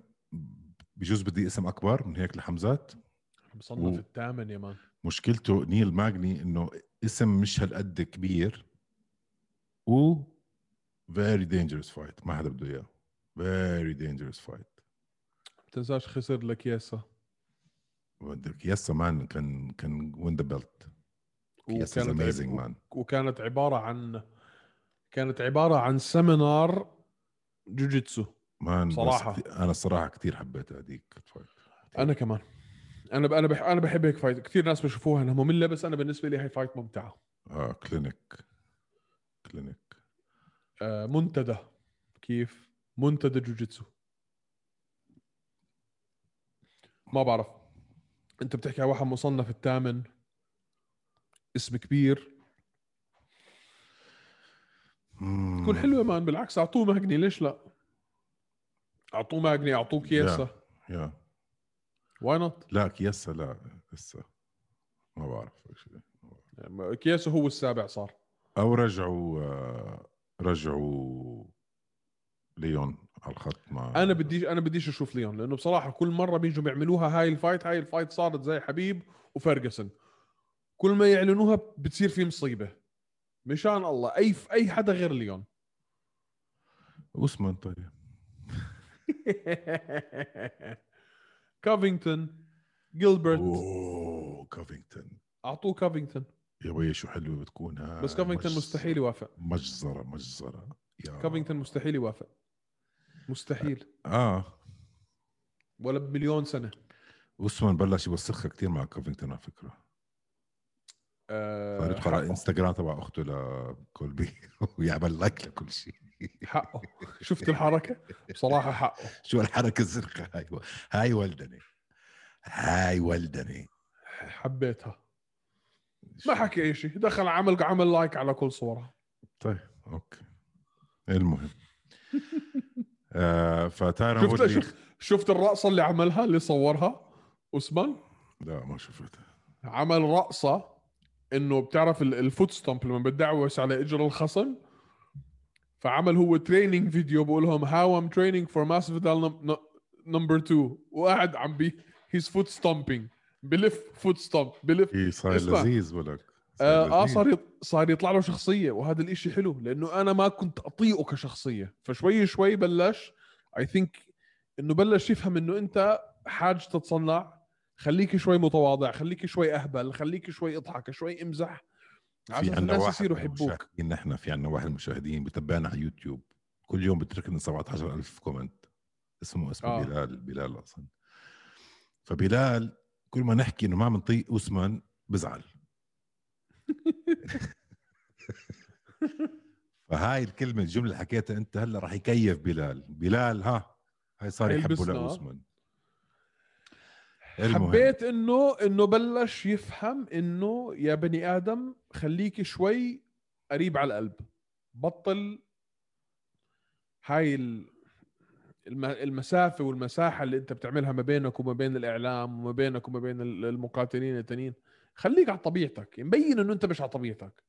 بجوز بدي اسم اكبر من هيك لحمزات مصنف و- الثامن يا مان مشكلته نيل ماجني انه اسم مش هالقد كبير و فيري دينجرس فايت ما حدا بده اياه فيري دينجرس فايت تنساش خسر لك ياسا بدك يس مان كان كان وين ذا بيلت يس وكانت عب- اميزنج مان وكانت عباره عن كانت عباره عن سيمينار جوجيتسو مان بس صراحة. كتير- انا الصراحه كثير حبيت هذيك الفايت انا كمان انا ب... انا بح... انا بحب هيك فايت كثير ناس بشوفوها انها ممله بس انا بالنسبه لي هي فايت ممتعه اه كلينيك كلينيك آه منتدى كيف منتدى جوجيتسو ما بعرف انت بتحكي على واحد مصنف الثامن اسم كبير تكون حلوه مان بالعكس اعطوه ماجني ليش لا اعطوه ماجني اعطوه كيسه يا واي نوت لا يسا لا لسه ما بعرف إيش- كيسه هو السابع صار او رجعوا آه، رجعوا ليون على الخط مع انا بديش انا بديش اشوف ليون لانه بصراحه كل مره بيجوا بيعملوها هاي الفايت هاي الفايت صارت زي حبيب وفرجسون كل ما يعلنوها بتصير في مصيبه مشان الله اي اي حدا غير ليون اوسمان طيب كافينغتون جيلبرت اوه كافينغتون اعطوه كافينغتون يا وي شو حلوه بتكون هاي بس كافينغتون مجز- مستحيل يوافق مجزره مجزره يا كافينغتون مستحيل يوافق مستحيل اه ولا بمليون سنه اوسمان بلش يوسخها كثير مع كافينغتون على فكره آه، صار يدخل على حقه. الانستغرام تبع اخته لكولبي [laughs] ويعمل لايك لكل شيء حقه شفت الحركه بصراحه حقه [laughs] شو الحركه الزرقاء هاي هاي ولدني هاي ولدني حبيتها ما حكى شيء دخل عمل عمل لايك على كل صوره طيب اوكي [laughs] المهم آه فتايرون شفت وودلي شفت, شفت الرقصه اللي عملها اللي صورها اوسمان لا ما شفتها عمل رقصه انه بتعرف ال- الفوت ستامب لما بتدعوس على اجر الخصم فعمل هو تريننج فيديو بقول لهم هاو ام تريننج فور ماس فيدال نمبر 2 وقاعد عم بي هيز فوت ستامبينج بلف فوت ستامب بلف ايه صار اسمع. لذيذ ولك اه آه، لذيذ. صار يط- صار يطلع له شخصيه وهذا الاشي حلو لانه انا ما كنت اطيقه كشخصيه فشوي شوي بلش اي ثينك انه بلش يفهم انه انت حاج تتصنع خليك شوي متواضع خليك شوي اهبل خليك شوي اضحك شوي امزح في عشان عنا الناس واحد يصيروا من يحبوك المشاهدين نحن في عنا واحد من المشاهدين بتابعنا على يوتيوب كل يوم بترك لنا 17000 كومنت اسمه اسمه آه. آه. بلال بلال اصلا فبلال كل ما نحكي انه ما عم نطيق اوسمان [laughs] بزعل فهاي الكلمه الجمله اللي حكيتها انت هلا راح يكيف بلال بلال ها هاي صار يحبه يلبسنا. لاوسمان المهم. حبيت انه انه بلش يفهم انه يا بني ادم خليك شوي قريب على القلب بطل هاي ال- الم- المسافه والمساحه اللي انت بتعملها ما بينك وما بين الاعلام وما بينك وما بين ال- المقاتلين التانيين خليك على طبيعتك مبين انه انت مش على طبيعتك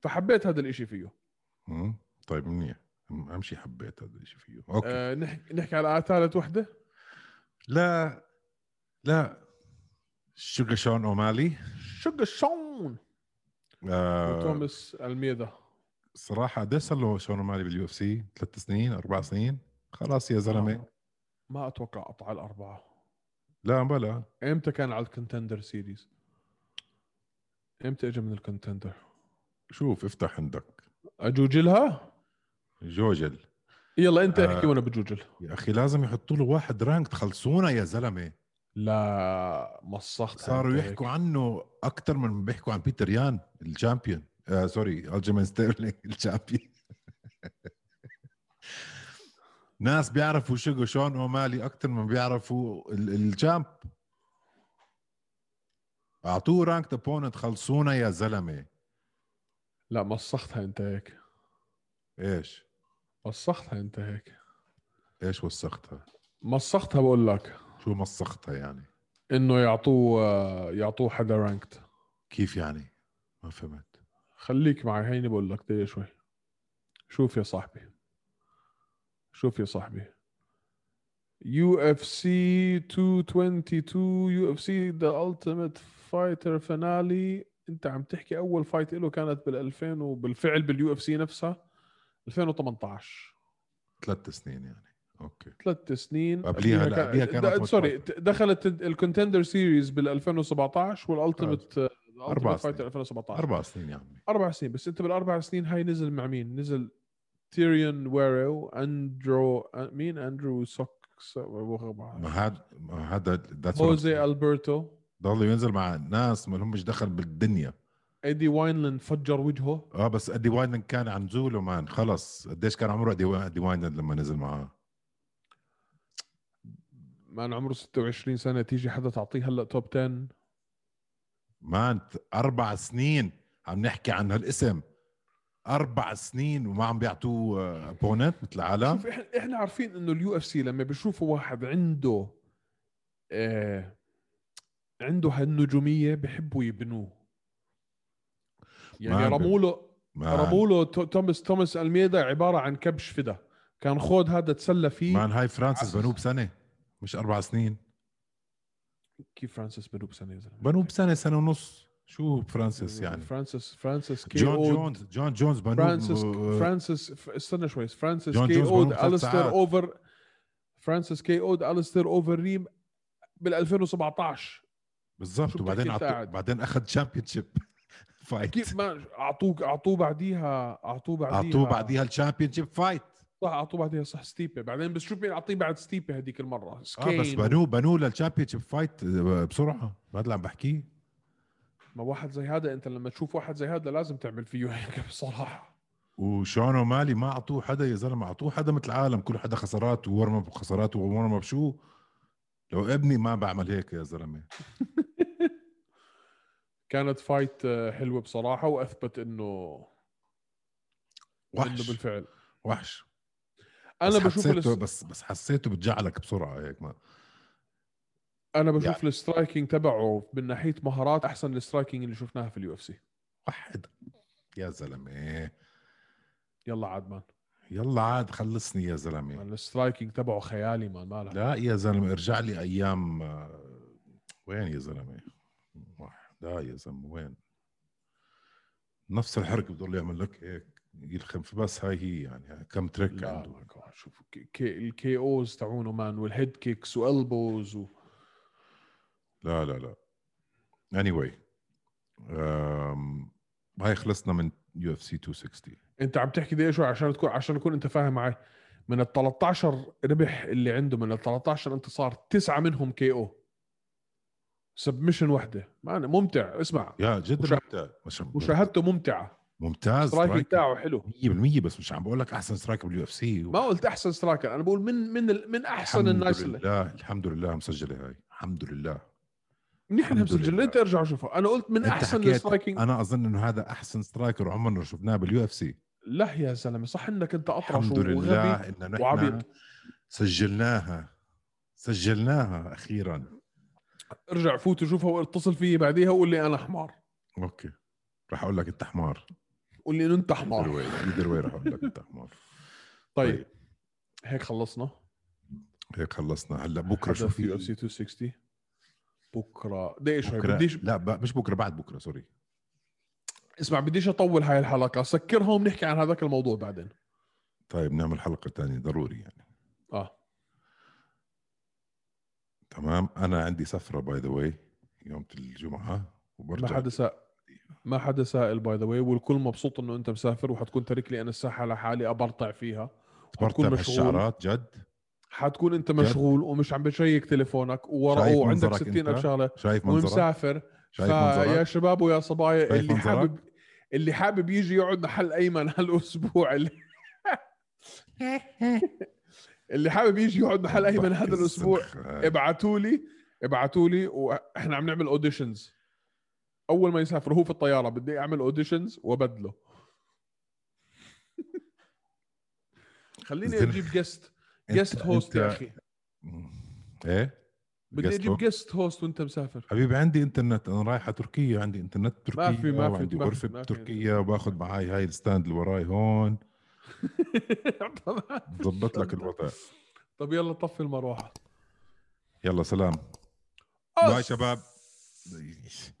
فحبيت هذا الاشي فيه آه. مم. طيب منيح أهم أهم شيء حبيت هذا الشيء فيه أوكي أه. أه نحكي نحكي على ثالث وحده لا لا شوغا شون أومالي شق الشون آه وتوماس الميدا صراحة قد صار له شون أومالي باليو اف سي ثلاث سنين أربع سنين خلاص يا آه. زلمة ما اتوقع قطع الاربعه لا بلا امتى كان على الكونتندر سيريز؟ امتى اجى من الكونتندر؟ شوف افتح عندك اجوجلها؟ جوجل يلا انت آه. احكي وانا بجوجل يا اخي لازم يحطوا له واحد رانك تخلصونا يا زلمه لا مسخت صاروا يحكوا عنه اكثر من ما بيحكوا عن بيتر يان الشامبيون آه سوري الجيمين [laughs] ستيرلينج الشامبيون ناس بيعرفوا شو شون اومالي اكثر من بيعرفوا ال- الشامب اعطوه رانك ابوننت خلصونا يا زلمه لا مسختها انت هيك ايش مسختها انت هيك ايش وسختها مسختها بقول لك شو مسختها يعني انه يعطوه آه، يعطوه حدا رانكت كيف يعني ما فهمت خليك معي هيني بقول لك دقيقه شوي شوف يا صاحبي شوف يا صاحبي يو اف سي 222 يو اف سي ذا التيميت فايتر فينالي انت عم تحكي اول فايت له كانت بال 2000 وبالفعل باليو اف سي نفسها 2018 ثلاث سنين يعني اوكي ثلاث سنين قبليها- لا، قبليها كانت د- مت- سوري ت- دخلت الكونتندر سيريز بال 2017 والالتيميت أربع فايتر سنين. 2017 اربع سنين يا عمي اربع سنين بس انت بالاربع سنين هاي نزل مع مين؟ نزل تيريون ويرو اندرو أن- مين اندرو سوكس ما هاد ما هذا that's what I'm هوزي saying. البرتو ضل ينزل مع ناس ما لهمش دخل بالدنيا ايدي واينلاند فجر وجهه اه بس ادي وايدن كان عن زوله مان خلص قديش كان عمره ادي ادي وايدن لما نزل معاه مان عمره 26 سنه تيجي حدا تعطيه هلا توب 10 مان ت- اربع سنين عم نحكي عن هالاسم اربع سنين وما عم بيعطوه ابوننت مثل العالم شوف احنا احنا عارفين انه اليو اف سي لما بيشوفوا واحد عنده آه عنده هالنجوميه بحبوا يبنوه يعني مان، رموا له مان, رموا له تو- توماس توماس الميدا عباره عن كبش فدا كان خود هذا تسلى فيه مان هاي فرانسيس عسس. بنوه بسنه مش اربع سنين كيف فرانسيس بنو بسنه يا زلمه بنوه بسنه سنه ونص شو فرانسيس يعني فرانسيس فرانسيس كي جون اود جونز جون جونز بنوه فرانسيس ب- فرانسيس ف- استنى شوي فرانسيس جون كي جونز اود بنوه بثلاث الستر ساعات. اوفر فرانسيس كي اود الستر اوفر ريم بال 2017 شو بالضبط بتحكي وبعدين أنت عطو... قاعد؟ بعدين اخذ تشامبيون [laughs] شيب فايت كيف ما اعطوه اعطوه بعديها اعطوه بعديها اعطوه بعديها الشامبيون شيب فايت صح اعطوه بعديها صح ستيبي بعدين بس شوف مين اعطيه بعد ستيبي هذيك المره اه بس سكين بنوه بنوه للشامبيون شيب فايت بسرعه ما اللي عم بحكيه ما واحد زي هذا انت لما تشوف واحد زي هذا لازم تعمل فيه [laughs] هيك بصراحه وشون مالي ما اعطوه حدا يا زلمه اعطوه حدا مثل العالم كل حدا خسارات وورم اب خسارات وورم اب شو لو ابني ما بعمل هيك يا زلمه كانت فايت آه، حلوه بصراحه واثبت انه انه وحش بالفعل وحش انا بس بشوف حسيته الاس... بس بس حسيته بتجعلك بسرعه هيك ما انا بشوف يعني. يعني. السترايكينج تبعه من ناحيه مهارات احسن السترايكينج اللي شفناها في اليو اف سي وحد يا زلمه يلا عاد مان يلا عاد خلصني يا زلمه مان، السترايكينج تبعه خيالي مان مالها لا يا زلمه ارجع لي ايام آه، وين يا زلمه؟ وح- لا يا زلمه وين؟ نفس الحركه بضل يعمل لك هيك يلخم في بس هاي هي يعني كم تريك لا عنده ما كمان، شوف ك- ك- الكي اوز تاعونه مان والهيد كيكس والبوز و... لا لا لا اني anyway. هاي خلصنا من يو اف سي 260 انت عم تحكي دقيقه شوي عشان تكون عشان اكون انت فاهم معي من ال 13 ربح اللي عنده من ال 13 انتصار تسعه منهم كي او سبمشن وحده مان ممتع اسمع يا جد مشا- ممتاز مش مشاهدته ممتعه ممتاز سترايكينج سترايكر تاعه حلو 100% بس مش عم بقول لك احسن سترايكر باليو اف سي ما قلت احسن سترايكر انا بقول من من ال- من احسن الناس الحمد اللي لله الحمد لله مسجله هاي الحمد لله منيح الحمد مسجل لله. انت ارجع شوفها انا قلت من أنت احسن حكيت السترايكينج انا اظن انه هذا احسن سترايكر عمرنا شفناه باليو اف سي لا يا زلمه صح انك انت اطرش الحمد لله ان نحن وعبيط. سجلناها سجلناها اخيرا ارجع فوت وشوفها واتصل فيي بعديها وقول لي انا حمار اوكي رح اقول لك انت حمار قول لي انه انت ايذر حمار واي ايذر واي رح اقول لك انت حمار طيب هيك خلصنا [laughs] هيك خلصنا هلا بكره شو حدا في يو اف سي في 260 بكره دقيقه شوي بكره بديش لا ب- مش بكره بعد بكره سوري اسمع بديش اطول هاي الحلقه سكرها ونحكي عن هذاك الموضوع بعدين طيب نعمل حلقه تانية ضروري يعني اه تمام انا عندي سفره باي ذا واي يوم الجمعه ما وبرجع حدا سأل ما حدا سائل باي ذا واي والكل مبسوط انه انت مسافر وحتكون تارك لي انا الساحه لحالي ابرطع فيها برتب حتكون مشغول. هالشعرات جد حتكون انت مشغول ومش عم بتشيك تليفونك وورا شايف وعندك منظرك 60 أنت؟ الف شغله شايف منظرك ومسافر شايف فيا منظرك شباب ويا صبايا شايف اللي منظرك؟ حابب اللي حابب يجي يقعد محل ايمن [laughs] هالاسبوع اللي اللي حابب يجي يقعد محل طيب، ايمن هذا الاسبوع ابعتوا لي ابعتوا لي واحنا عم نعمل اوديشنز اول ما يسافر هو في الطياره بدي اعمل اوديشنز وبدله [laughs] خليني زلمة. اجيب جيست جيست هوست يا اخي يعني. ايه بدي اجيب guest host. جيست هوست وانت مسافر [laughs] حبيبي عندي انترنت انا رايح على تركيا عندي انترنت تركيا ما في- ما في- وعندي ما في- غرفه ما في. بتركيا وباخذ معي هاي الستاند اللي وراي [laughs] هون بظبط لك الوضع طب يلا طفي المروحه يلا سلام باي شباب